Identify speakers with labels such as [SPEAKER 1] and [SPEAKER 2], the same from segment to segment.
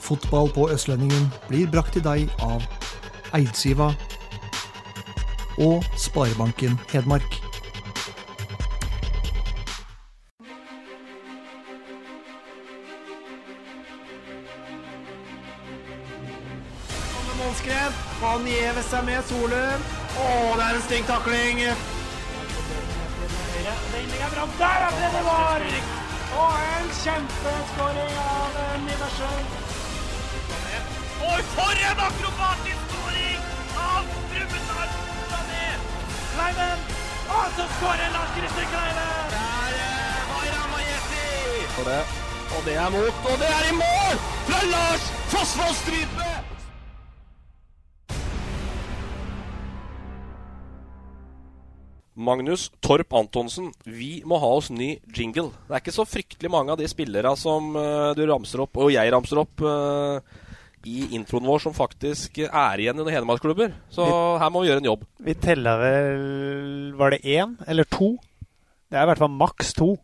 [SPEAKER 1] Fotball på Østlendingen blir brakt til deg av Eidsiva og Sparebanken Hedmark.
[SPEAKER 2] Målskred. Han gjever seg med Solum. Å, det er en stygg takling. Vending er bra. Der er det det var! Og en kjempeskåring av eh, Niversen. Og for en akrobatisk skåring av Brumunddal Sané! Kleiven! Og så skårer Lars Christer Kleiven! Der eh, var Ramajeti! For det. Og det er mot, og det er i mål! Fra Lars Fossvold Strype!
[SPEAKER 3] Magnus Torp Antonsen, vi må ha oss ny jingle. Det er ikke så fryktelig mange av de spillerne som eh, du ramser opp, og jeg ramser opp, eh, i introen vår som faktisk er igjen under Hedmarksklubber. Så her må vi gjøre en jobb.
[SPEAKER 4] Vi tella vel Var det én eller to? Det er i hvert fall maks to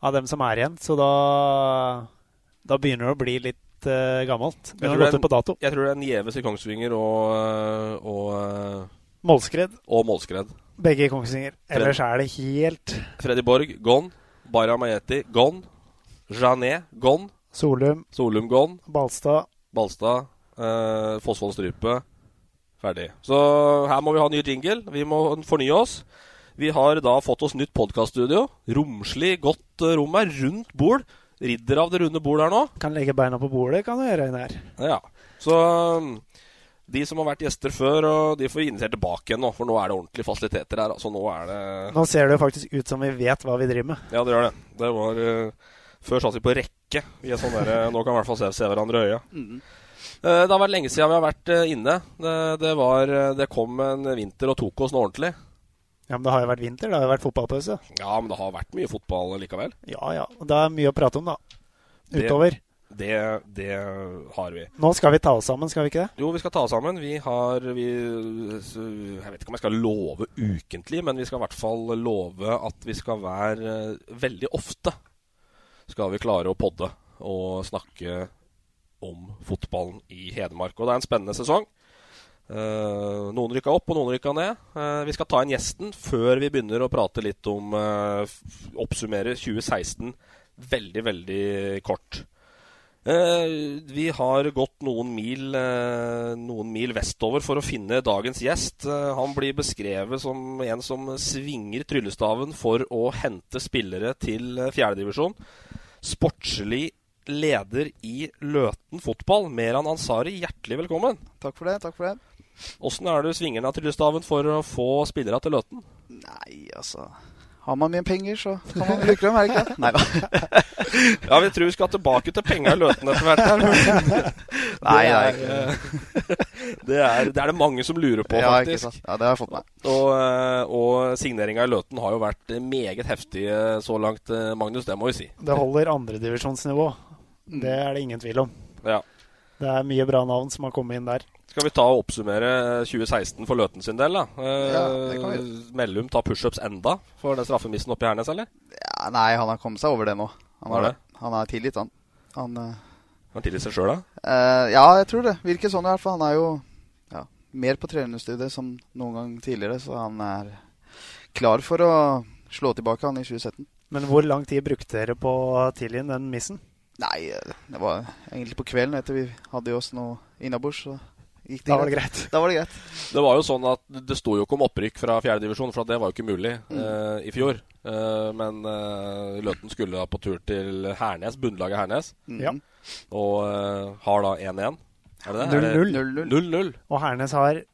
[SPEAKER 4] av dem som er igjen. Så da, da begynner det å bli litt eh, gammelt.
[SPEAKER 3] Jeg
[SPEAKER 4] Det har
[SPEAKER 3] tror
[SPEAKER 4] gått
[SPEAKER 3] det-
[SPEAKER 4] ut på dato.
[SPEAKER 3] Jeg tror det er Nieves i Kongsvinger og, eh, og, eh,
[SPEAKER 4] Målskred,
[SPEAKER 3] og Målskred.
[SPEAKER 4] begge i Kongsvinger. Ellers er det helt
[SPEAKER 3] Freddy Borg, gone. Bayram Ayeti, gone. Janet, gone.
[SPEAKER 4] Solum,
[SPEAKER 3] Solum, gone.
[SPEAKER 4] Balstad,
[SPEAKER 3] Balstad, eh, Fossvoll Strype. Ferdig. Så her må vi ha ny jingle. Vi må fornye oss. Vi har da fått oss nytt podkaststudio. Romslig, godt eh, rom her. Rundt bord. Ridder av det runde bord her nå.
[SPEAKER 4] kan legge beina på bordet, kan du gjøre inn her.
[SPEAKER 3] Ja. Så um, de som har vært gjester før, og de får invitere tilbake igjen nå. For nå er det ordentlige fasiliteter her. Altså, nå er det
[SPEAKER 4] Nå ser det jo faktisk ut som vi vet hva vi driver med.
[SPEAKER 3] Ja, det gjør det. Det var eh, Før satt vi på rekke. Vi er sånn der, Nå kan vi i hvert fall se, se hverandre i øya. Eh, det har vært lenge siden vi har vært eh, inne. Det, det, var, eh, det kom en vinter og tok oss noe ordentlig.
[SPEAKER 4] Ja, Men det har jo vært vinter, det har jo vært fotballpause.
[SPEAKER 3] Ja, men det har vært mye fotball likevel.
[SPEAKER 4] Ja ja. og Det er mye å prate om, da.
[SPEAKER 3] Det-
[SPEAKER 4] Utover.
[SPEAKER 3] Det, det har vi.
[SPEAKER 4] Nå skal vi ta oss sammen, skal vi ikke det?
[SPEAKER 3] Jo, vi skal ta oss sammen. Vi har vi, s- Jeg vet ikke om jeg skal love ukentlig, men vi skal i hvert fall love at vi skal være eh, veldig ofte skal vi klare å podde og snakke om fotballen i Hedmark. Og det er en spennende sesong. Eh, noen rykka opp, og noen rykka ned. Eh, vi skal ta inn gjesten før vi begynner å prate litt om eh, f- Oppsummere 2016 veldig, veldig kort. Eh, vi har gått noen mil, eh, noen mil vestover for å finne dagens gjest. Eh, han blir beskrevet som en som svinger tryllestaven for å hente spillere til eh, fjerdedivisjon. Sportslig leder i Løten fotball, Meran Ansari. Hjertelig velkommen.
[SPEAKER 5] Takk for det. takk for det.
[SPEAKER 3] Åssen er du svinger av tryllestaven for å få spillere til Løten?
[SPEAKER 5] Nei, altså Har man mye penger, så kan man bruke dem, er det ikke det? Nei da.
[SPEAKER 3] Ja, vi tror vi skal tilbake til penga i Løten etter hvert. her.
[SPEAKER 5] Nei,
[SPEAKER 3] det,
[SPEAKER 5] nei.
[SPEAKER 3] er, eh, det, er, det er det mange som lurer på,
[SPEAKER 5] ja, ikke
[SPEAKER 3] faktisk.
[SPEAKER 5] sant. Ja, det har jeg fått med.
[SPEAKER 3] Og, eh, og signeringa i Løten har jo vært meget heftig eh, så langt, eh, Magnus. Det må vi si.
[SPEAKER 4] Det holder andredivisjonsnivå. Det er det ingen tvil om.
[SPEAKER 3] Ja.
[SPEAKER 4] Det er mye bra navn som har kommet inn der.
[SPEAKER 3] Skal vi ta og oppsummere eh, 2016 for Løten sin del, da? Eh,
[SPEAKER 5] Ja, det kan vi
[SPEAKER 3] Mellum tar pushups enda for den straffemissen oppe i Hernes, eller?
[SPEAKER 5] Ja, nei, han har kommet seg over det nå. Han
[SPEAKER 3] Har
[SPEAKER 5] har,
[SPEAKER 3] det?
[SPEAKER 5] det. Han er tilgitt, han. han eh,
[SPEAKER 3] Han tilgir seg sjøl, da.
[SPEAKER 5] eh, ja, jeg tror det. Virker sånn i hvert fall. Han er jo ja, mer på trenerstudiet som noen gang tidligere, så han er klar for å slå tilbake, han i 2017.
[SPEAKER 4] Men hvor lang tid brukte dere på å tilgi den missen?
[SPEAKER 5] Nei, eh, det var egentlig på kvelden etter vi hadde i oss noe innabords, så gikk det
[SPEAKER 4] Da var det greit.
[SPEAKER 5] Da var det greit.
[SPEAKER 3] Det var jo sånn at det sto jo ikke om opprykk fra fjerdedivisjon, for at det var jo ikke mulig
[SPEAKER 5] Mm.
[SPEAKER 3] eh, i fjor. Eh, men eh, Løten skulle da på tur til Hernes, bunnlaget Hernes,
[SPEAKER 5] Mm.
[SPEAKER 4] Ja.
[SPEAKER 3] og eh, har da 1-1. Er det det?
[SPEAKER 4] 0-0.
[SPEAKER 5] 0-0.
[SPEAKER 3] 0-0.
[SPEAKER 4] Og Hernes har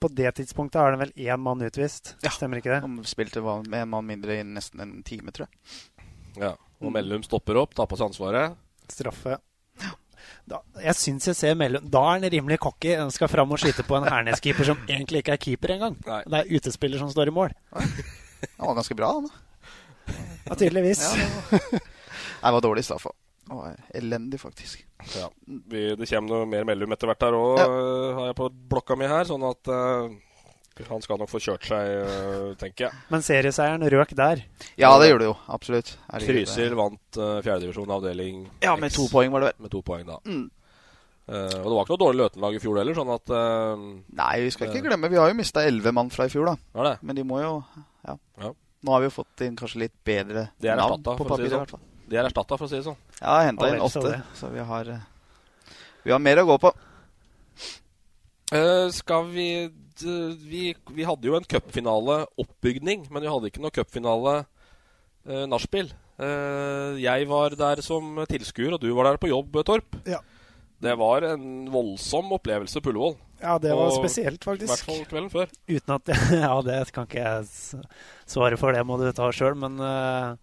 [SPEAKER 4] På det tidspunktet har den vel én mann utvist, stemmer ikke det?
[SPEAKER 5] Han spilte hva- med en mann mindre i nesten en time, tror jeg. Mm.
[SPEAKER 3] Ja. Og Mellum stopper opp, tar på seg ansvaret.
[SPEAKER 4] Straffe. da, Jeg syns jeg ser mellom Da er han rimelig cocky. Han skal fram og skyte på en Hernes-keeper som egentlig ikke er keeper engang. Det er utespiller som står i mål.
[SPEAKER 5] Han var ganske bra, han. da.
[SPEAKER 4] Ja, tydeligvis.
[SPEAKER 5] Ja, det var- Nei, det var dårlig straff. da. Det var Elendig, faktisk.
[SPEAKER 3] Ja. Vi, det kommer noe mer mellom etter hvert her òg, har jeg på blokka mi her. Sånn at eh, han skal nok få kjørt seg, eh, tenker jeg.
[SPEAKER 4] Men serieseieren røk der.
[SPEAKER 5] Ja, det gjorde det jo. Absolutt. Herregud,
[SPEAKER 3] Trysil vant uh, fjerdedivisjon avdeling
[SPEAKER 5] Ja, med to poeng var det
[SPEAKER 3] vel. Med to poeng, da.
[SPEAKER 5] Mm.
[SPEAKER 3] Eh, og det var ikke noe dårlig Løten-lag i fjor heller, sånn at
[SPEAKER 5] Nei, vi skal ikke glemme, vi har jo mista elleve mann fra i fjor, da.
[SPEAKER 3] Var det?
[SPEAKER 5] Men de må jo ja.
[SPEAKER 3] Ja.
[SPEAKER 5] Nå har vi jo fått inn kanskje litt bedre
[SPEAKER 3] De er
[SPEAKER 5] navn
[SPEAKER 3] erstatta,
[SPEAKER 5] på
[SPEAKER 3] for, å si
[SPEAKER 5] papiret.
[SPEAKER 3] det
[SPEAKER 5] i hvert fall.
[SPEAKER 3] sånn. De er erstattet, for å si det sånn.
[SPEAKER 5] Ja, jeg henta inn åtte, så vi har eh, Vi har mer å gå på.
[SPEAKER 3] Eh, skal vi, d- vi Vi hadde jo en cupfinaleoppbygning, men vi hadde ikke noe cupfinale uh, nachspiel. Eh, jeg var der som tilskuer, og du var der på jobb, Torp.
[SPEAKER 4] Ja.
[SPEAKER 3] Det var en voldsom opplevelse på Ullevål.
[SPEAKER 4] Ja, det var
[SPEAKER 3] Og
[SPEAKER 4] spesielt, faktisk.
[SPEAKER 3] I hvert fall kvelden før.
[SPEAKER 4] Uten at Ja, det kan ikke jeg s- svare for, det må du ta sjøl. Men eh,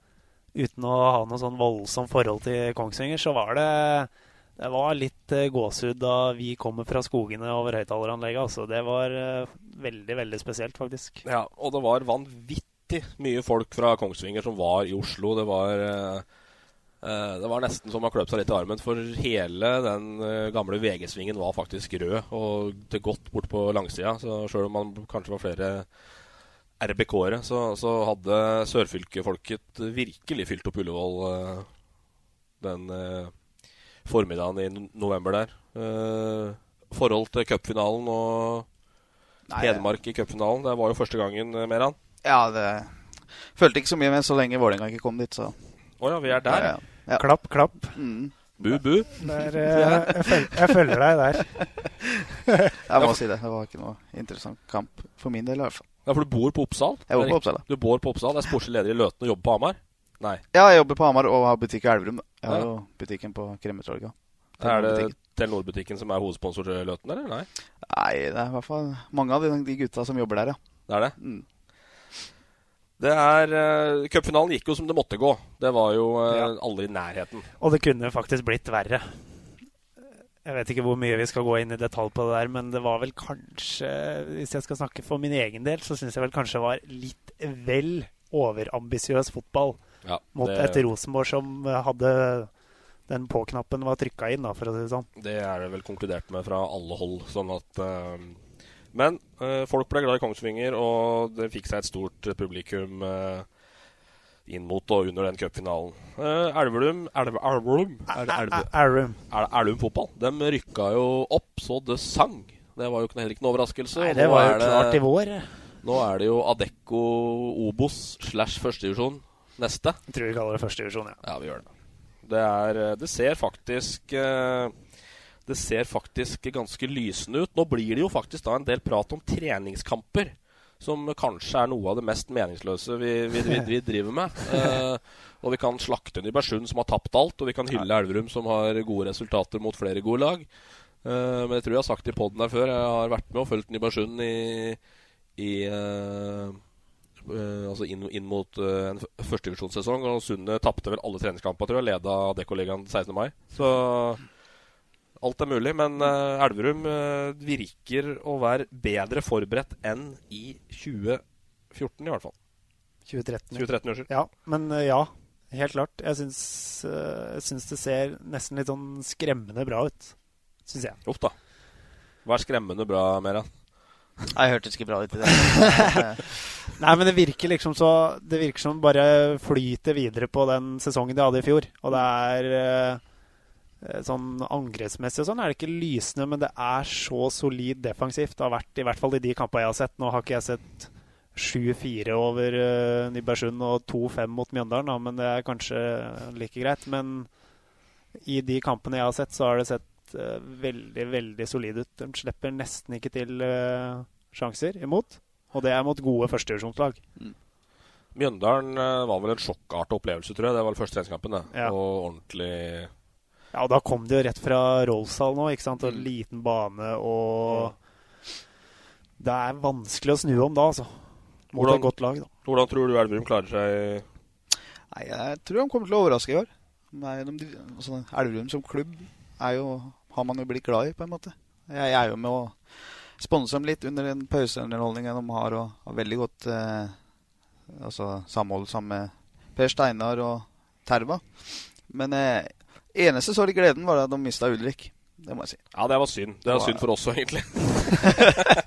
[SPEAKER 4] uten å ha noe sånn voldsomt forhold til Kongsvinger, så var det det var litt eh, gåsehud da vi kommer fra skogene over høyttaleranlegget. Altså. Det var eh, veldig, veldig spesielt, faktisk.
[SPEAKER 3] Ja, og det var vanvittig mye folk fra Kongsvinger som var i Oslo. Det var, eh, eh, det var nesten som å kløpe seg litt i armen, for hele den eh, gamle VG-svingen var faktisk rød, og til godt bort på langsida. Så sjøl om man kanskje var flere RBK-ere, så, så hadde sørfylkefolket virkelig fylt opp Ullevål eh, den eh, formiddagen i no- november der. Eh, forhold til cupfinalen og
[SPEAKER 5] Nei,
[SPEAKER 3] Hedmark i cupfinalen. Det var jo første gangen, eh, Meran.
[SPEAKER 5] Ja, det Følte ikke så mye med så lenge Vålerenga ikke kom dit, så
[SPEAKER 3] Å ja, vi er der.
[SPEAKER 5] Ja, ja. Ja.
[SPEAKER 4] Klapp, klapp.
[SPEAKER 5] Mm.
[SPEAKER 3] Bu, bu.
[SPEAKER 4] Der, eh, jeg, følger, jeg følger deg der.
[SPEAKER 5] Jeg må si det. Det var ikke noe interessant kamp for min del, i hvert fall.
[SPEAKER 3] Ja, for du bor på Oppsal?
[SPEAKER 5] Jeg bor på
[SPEAKER 3] Er-
[SPEAKER 5] Oppsal,
[SPEAKER 3] Du bor på Oppsal, er sportslig leder i Løten og jobber på Hamar? Nei.
[SPEAKER 5] Ja, jeg jobber på Hamar og har butikk i Elverum. Jeg har
[SPEAKER 3] Ja.
[SPEAKER 5] jo butikken på Kremmetorget.
[SPEAKER 3] Er det Telenor-butikken som er hovedsponsor til Løten, eller? Nei.
[SPEAKER 5] Nei, det er i hvert fall mange av de, de gutta som jobber der, ja. Mm.
[SPEAKER 3] Det er det. Det er eh, Cupfinalen gikk jo som det måtte gå. Det var jo eh, alle i nærheten.
[SPEAKER 4] Og det kunne faktisk blitt verre. Jeg vet ikke hvor mye vi skal gå inn i detalj på det der, men det var vel kanskje Hvis jeg skal snakke for min egen del, så syns jeg vel kanskje det var litt vel overambisiøs fotball
[SPEAKER 3] Ja,
[SPEAKER 4] mot
[SPEAKER 3] det-
[SPEAKER 4] et Rosenborg som hadde Den på-knappen var trykka inn, da, for å si det sånn.
[SPEAKER 3] Det er det vel konkludert med fra alle hold. Sånn at eh, Men eh, folk ble glad i Kongsvinger, og det fikk seg et stort eh, publikum eh, inn mot og under den cupfinalen. Eh, Elverum Elve, Elverum? Er det Elve-
[SPEAKER 4] Elverum.
[SPEAKER 3] Er det Elverum fotball? De rykka jo opp så det sang. Det var jo ikke, heller ikke noe overraskelse.
[SPEAKER 4] Nei,
[SPEAKER 3] og
[SPEAKER 4] det
[SPEAKER 3] nå
[SPEAKER 4] var jo
[SPEAKER 3] er
[SPEAKER 4] klart i vår.
[SPEAKER 3] Nå er det jo Adecco Obos slash førstedivisjon neste.
[SPEAKER 4] Jeg tror vi kaller det førstedivisjon, ja.
[SPEAKER 3] Ja, vi gjør det. Det, er, eh, det ser faktisk eh, Det ser faktisk ganske lysende ut. Nå blir det jo faktisk da en del prat om treningskamper. Som kanskje er noe av det mest meningsløse vi, vi, vi, vi driver med. Eh, og vi kan slakte Nybergsund, som har tapt alt. Og vi kan hylle Elverum, som har gode resultater mot flere gode lag. Eh, men jeg tror jeg har sagt det i poden her før. Jeg har vært med og fulgt Nybergsund i, i eh, eh, altså inn, inn mot eh, en f- førstedivisjonssesong. Og Sunde tapte vel alle treningskamper, tror jeg. Leda Dekoligaen 16. mai. Så alt er mulig. Men eh, Elverum eh, virker å være bedre forberedt enn i 2014, i hvert fall.
[SPEAKER 4] 2013.
[SPEAKER 3] 2013, unnskyld.
[SPEAKER 4] Ja, men eh, ja. Helt klart. Jeg syns, eh, jeg syns det ser nesten litt sånn skremmende bra ut. Syns jeg.
[SPEAKER 3] Uff da. Vær skremmende bra, Meran.
[SPEAKER 5] Nei, hørtes ikke bra ut i
[SPEAKER 4] Nei, men det virker liksom så Det virker som bare flyter videre på den sesongen de hadde i fjor. Og det er eh, sånn angrepsmessig og sånn er det ikke lysende, men det er så solid defensivt. Det har vært i hvert fall i de kampene jeg har sett. Nå har ikke jeg sett 7-4 over eh, Nybergsund og 2-5 mot Mjøndalen, da, men det er kanskje like greit. Men i de kampene jeg har sett, så har det sett eh, veldig, veldig solid ut. De slipper nesten ikke til eh, sjanser imot. Og det er mot gode førstedivisjonslag.
[SPEAKER 3] Mjøndalen eh, var vel en sjokkartet opplevelse, tror jeg. Det var vel første treningskampen, det.
[SPEAKER 4] Ja.
[SPEAKER 3] Og ordentlig
[SPEAKER 4] Ja, og da kom de jo rett fra Rollsdal nå, ikke sant? Og
[SPEAKER 3] Mm.
[SPEAKER 4] liten bane og Det er vanskelig å snu om da, altså. Mot
[SPEAKER 3] Hvordan-
[SPEAKER 4] et godt lag, da.
[SPEAKER 3] Hvordan tror du Elverum klarer seg?
[SPEAKER 5] Nei, jeg tror de kommer til å overraske i år. Nei, de, altså, Elverum som klubb er jo, har man jo blitt glad i, på en måte. Jeg, jeg er jo med å sponse dem litt under den pauseunderholdningen de har, og har veldig godt eh, altså, samhold sammen med Per Steinar og Terva. Men eh, eneste sår i gleden var at de mista Ulrik. Det må jeg si.
[SPEAKER 3] Ja, det var synd. Det
[SPEAKER 5] Det
[SPEAKER 3] er
[SPEAKER 5] var-
[SPEAKER 3] synd for oss også, egentlig.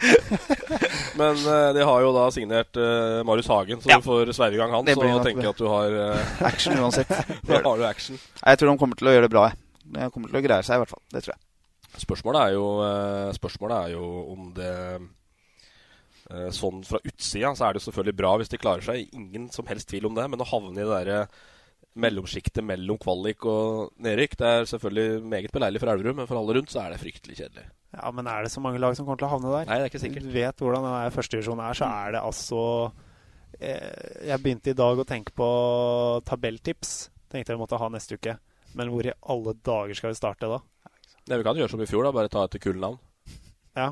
[SPEAKER 3] Men eh, de har jo da signert eh, Marius Hagen, så du får sverre i gang han.
[SPEAKER 5] Det
[SPEAKER 3] Så
[SPEAKER 5] blir nok
[SPEAKER 3] tenker jeg
[SPEAKER 5] det.
[SPEAKER 3] at du har eh,
[SPEAKER 5] Action uansett.
[SPEAKER 3] Da
[SPEAKER 5] Det gjør det.
[SPEAKER 3] har du action.
[SPEAKER 5] Nei, Jeg tror de kommer til å gjøre det bra. Jeg. De kommer til å greie seg, i hvert fall. Det tror jeg.
[SPEAKER 3] Spørsmålet er jo, eh, spørsmålet er jo om det eh, Sånn fra utsida så er det jo selvfølgelig bra hvis de klarer seg. Ingen som helst tvil om det. Men å havne i det derre mellomsjiktet mellom kvalik og nedrykk, det er selvfølgelig meget beleilig for Elverum, men for alle rundt så er det fryktelig kjedelig.
[SPEAKER 4] Ja, men er det så mange lag som kommer til å havne der?
[SPEAKER 3] Nei, det er ikke sikkert.
[SPEAKER 4] Du vet hvordan denne førstedivisjonen er, så er det altså eh, Jeg begynte i dag å tenke på tabelltips. Tenkte jeg måtte ha neste uke. Men hvor i alle dager skal vi starte da?
[SPEAKER 3] Det vi kan gjøre som i fjor, da. Bare ta etter kullenavn.
[SPEAKER 4] Ja.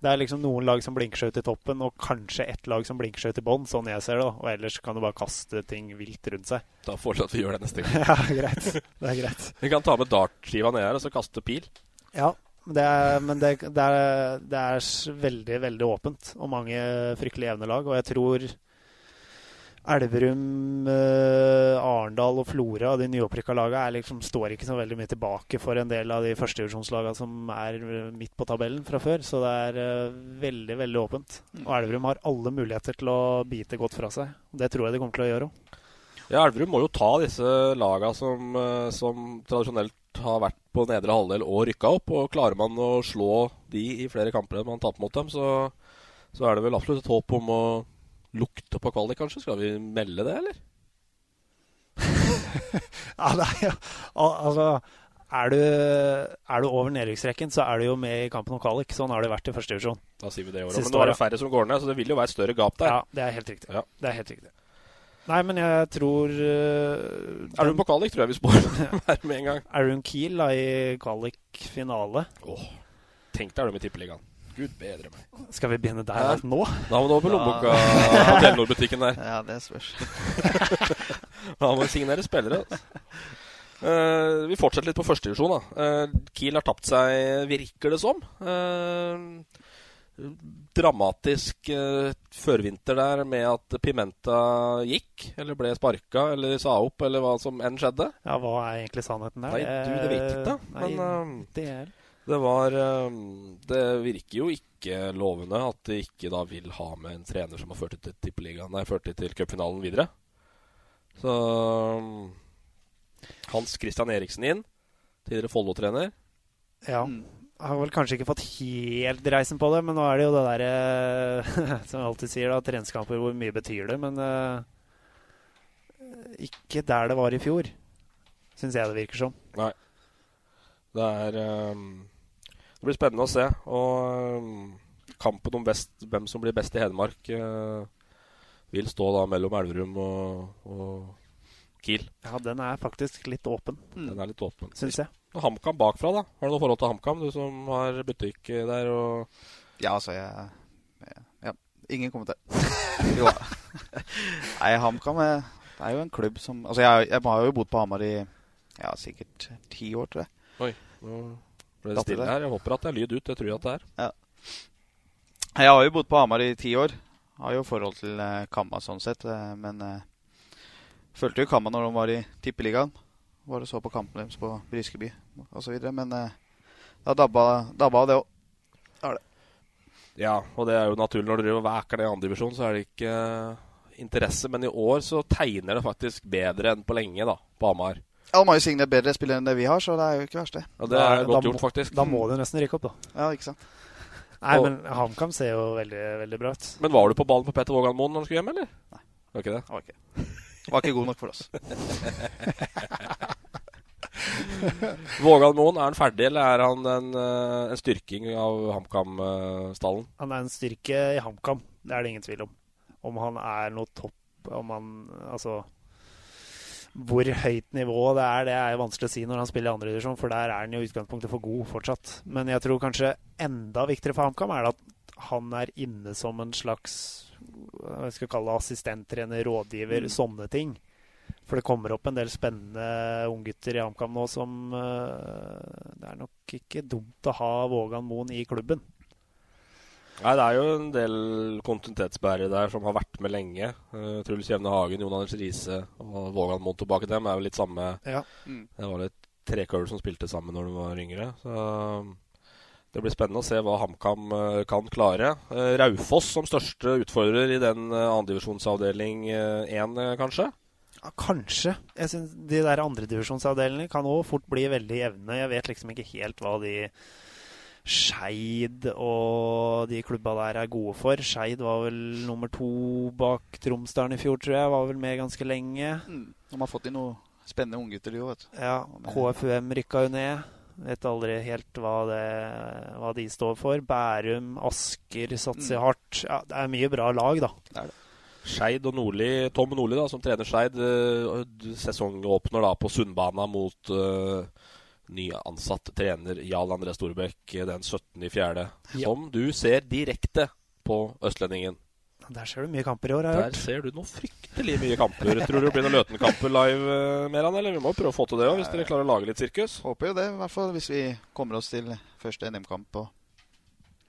[SPEAKER 4] Det er liksom noen lag som blinker seg ut i toppen, og kanskje ett lag som blinker seg ut i bånn, sånn jeg ser det. da. Og ellers kan du bare kaste ting vilt rundt seg.
[SPEAKER 3] Da foreslår jeg at vi gjør det neste gang.
[SPEAKER 4] ja, greit. Det er greit.
[SPEAKER 3] Vi kan ta med dartskiva ned her og så kaste pil.
[SPEAKER 4] Ja, men det er, men det, det er, det er s- veldig, veldig åpent og mange fryktelig jevne lag. Og jeg tror Elverum, eh, Arendal og Flora, de nyopprykka laga, er liksom, står ikke så veldig mye tilbake for en del av de førstedivisjonslaga som er eh, midt på tabellen fra før. Så det er eh, veldig, veldig åpent. Og Elverum har alle muligheter til å bite godt fra seg. Det tror jeg de kommer til å gjøre òg.
[SPEAKER 3] Ja, Elverum må jo ta disse laga som, eh, som tradisjonelt har vært på nedre halvdel og rykka opp. Og klarer man å slå de i flere kamper enn man taper mot dem, så, så er det vel absolutt et håp om å lukte på kvalik, kanskje. Skal vi melde det, eller?
[SPEAKER 4] Ja, det er jo al- Altså, er du, er du over nedrykksrekken, så er du jo med i kampen om kvalik. Sånn har det vært i første divisjon.
[SPEAKER 3] Da sier vi det i år.
[SPEAKER 4] Siste
[SPEAKER 3] Men nå er det
[SPEAKER 4] året.
[SPEAKER 3] færre som går ned, så det vil jo være et større gap der.
[SPEAKER 4] Ja, det er helt riktig.
[SPEAKER 3] Ja.
[SPEAKER 4] Det er helt riktig. Nei, men jeg tror uh,
[SPEAKER 3] Elverum på kvalik tror jeg vi spår her med en gang.
[SPEAKER 4] Aaron Kiel da, i kvalik-finale.
[SPEAKER 3] Åh, tenk deg Elverum i tippeligaen. Gud bedre meg.
[SPEAKER 4] Skal vi begynne der alt nå?
[SPEAKER 3] Da må du over på lommeboka
[SPEAKER 4] Ja.
[SPEAKER 3] Telenor-butikken der.
[SPEAKER 5] Ja, det spørs.
[SPEAKER 3] Han må signere spillere. altså. Eh, vi fortsetter litt på førstedivisjon. Uh, Kiel har tapt seg, virker det som. Eh, dramatisk eh, førvinter der med at Pimenta gikk, eller ble sparka, eller sa opp, eller hva som enn skjedde.
[SPEAKER 4] Ja, hva er egentlig sannheten der?
[SPEAKER 3] Nei, du, det vet ikke,
[SPEAKER 4] Eh,
[SPEAKER 3] men
[SPEAKER 4] nei,
[SPEAKER 3] eh,
[SPEAKER 4] det er
[SPEAKER 3] det var eh, Det virker jo ikke lovende at de ikke da vil ha med en trener som har ført dem til tippeligaen, nei, ført dem til cupfinalen videre. Så mm, Hans Christian Eriksen inn, tidligere Follo-trener.
[SPEAKER 4] Ja. Har vel kanskje ikke fått helt reisen på det, men nå er det jo det derre som jeg alltid sier, da, treningskamper, hvor mye betyr det? Men eh, ikke der det var i fjor, syns jeg det virker som.
[SPEAKER 3] Nei. Det er ehm, Det blir spennende å se. Og ehm, kampen om best, hvem som blir best i Hedmark, eh, vil stå da mellom Elverum og, og Kiel.
[SPEAKER 4] Ja, den er faktisk litt åpen,
[SPEAKER 3] Den er litt åpen.
[SPEAKER 4] syns jeg.
[SPEAKER 3] Og HamKam bakfra, da. Har du noe forhold til HamKam, du som har butikk eh, der? og...
[SPEAKER 5] Ja, altså, jeg Ja, ingen kommentar. Jo da. Nei, HamKam er, det er jo en klubb som Altså, jeg, jeg har jo bodd på Hamar i ja, sikkert ti år, tror jeg.
[SPEAKER 3] Oi, nå ble det
[SPEAKER 5] Datt det
[SPEAKER 3] stille
[SPEAKER 5] der?
[SPEAKER 3] her. Jeg håper at det er lyd ut. Det tror jeg at det er.
[SPEAKER 5] Jeg har jo bodd på Hamar i ti år. Har jo forhold til eh, Kamma sånn sett. eh, Men eh, følte jo Kamma når de var i Tippeligaen. Var og så på kampene deres på Briskeby osv. Men eh, da dabba, dabba det òg.
[SPEAKER 3] Ja, og det er jo naturlig når du driver og væker det i andredivisjon, så er det ikke eh, interesse. Men i år så tegner det faktisk bedre enn på lenge, da, på Hamar.
[SPEAKER 5] Ja, de har jo signert bedre spillere enn det vi har, så det er jo ikke verst, det.
[SPEAKER 3] Ja, det er
[SPEAKER 4] Da-
[SPEAKER 3] godt
[SPEAKER 4] da må-
[SPEAKER 3] gjort, faktisk.
[SPEAKER 4] Da må du nesten rykke opp, da.
[SPEAKER 5] Ja, ikke sant?
[SPEAKER 4] Nei,
[SPEAKER 3] Og-
[SPEAKER 4] men HamKam ser jo veldig, veldig bra ut.
[SPEAKER 3] Men var du på ballen på Petter Våganmoen når du skulle hjem, eller? Nei. Var ikke det?
[SPEAKER 5] Det var ikke, var ikke god nok for oss.
[SPEAKER 3] Våganmoen, er han ferdig, eller er han en, eh, en styrking av eh, HamKam-stallen?
[SPEAKER 4] Han er en styrke i HamKam, det er det ingen tvil om. Om han er noe topp Om han Altså hvor høyt nivå det er, det er jo vanskelig å si når han spiller i andre divisjon, for der er han jo i utgangspunktet for god fortsatt. Men jeg tror kanskje enda viktigere for HamKam er det at han er inne som en slags hva skal jeg kalle det, assistenttrener, rådgiver, sånne ting. For det kommer opp en del spennende unggutter i HamKam nå som eh, Det er nok ikke dumt å ha Vågan Moen i klubben.
[SPEAKER 3] Nei, det er jo en del kontinuitetsbærere der som har vært med lenge. Eh, Truls Jevne Hagen, Jon Anders Riise og Vågan Moen tilbake. Dem er jo litt samme
[SPEAKER 4] Ja. Mm.
[SPEAKER 3] Det var litt trekøller som spilte sammen når de var yngre. Så det blir spennende å se hva HamKam eh, kan klare. Eh, Raufoss som største utfordrer i den eh, andredivisjonsavdeling eh, 1, eh, kanskje?
[SPEAKER 4] Ja, kanskje. Jeg synes De der andredivisjonsavdelingene kan òg fort bli veldig jevne. Jeg vet liksom ikke helt hva de Skeid og de klubba der er gode for. Skeid var vel nummer to bak Tromsdalen i fjor, tror jeg. Var vel med ganske lenge.
[SPEAKER 5] De har fått inn noen spennende unggutter, de òg, vet du.
[SPEAKER 4] Ja, KFUM rykka jo ned. Vet aldri helt hva, det, hva de står for. Bærum, Asker satser
[SPEAKER 3] Mm.
[SPEAKER 4] hardt. Ja, det er mye bra lag, da.
[SPEAKER 5] Det er det.
[SPEAKER 3] Skeid og Nordli, Tom Nordli, da, som trener Skeid, eh, d- sesongåpner da på Sundbana mot eh, nyansatt trener Jarl André Storbekk eh, den 17.4.,
[SPEAKER 4] Ja.
[SPEAKER 3] som du ser direkte på Østlendingen.
[SPEAKER 4] Der ser du mye kamper i år, har jeg
[SPEAKER 3] Der
[SPEAKER 4] hørt.
[SPEAKER 3] ser du noe fryktelig mye kamper. Tror du det blir noen Løten-kamper live eh, mer, han, eller? Vi må jo prøve å få til det òg, hvis dere klarer å lage litt sirkus.
[SPEAKER 5] Håper jo det, i hvert fall hvis vi kommer oss til første NM-kamp og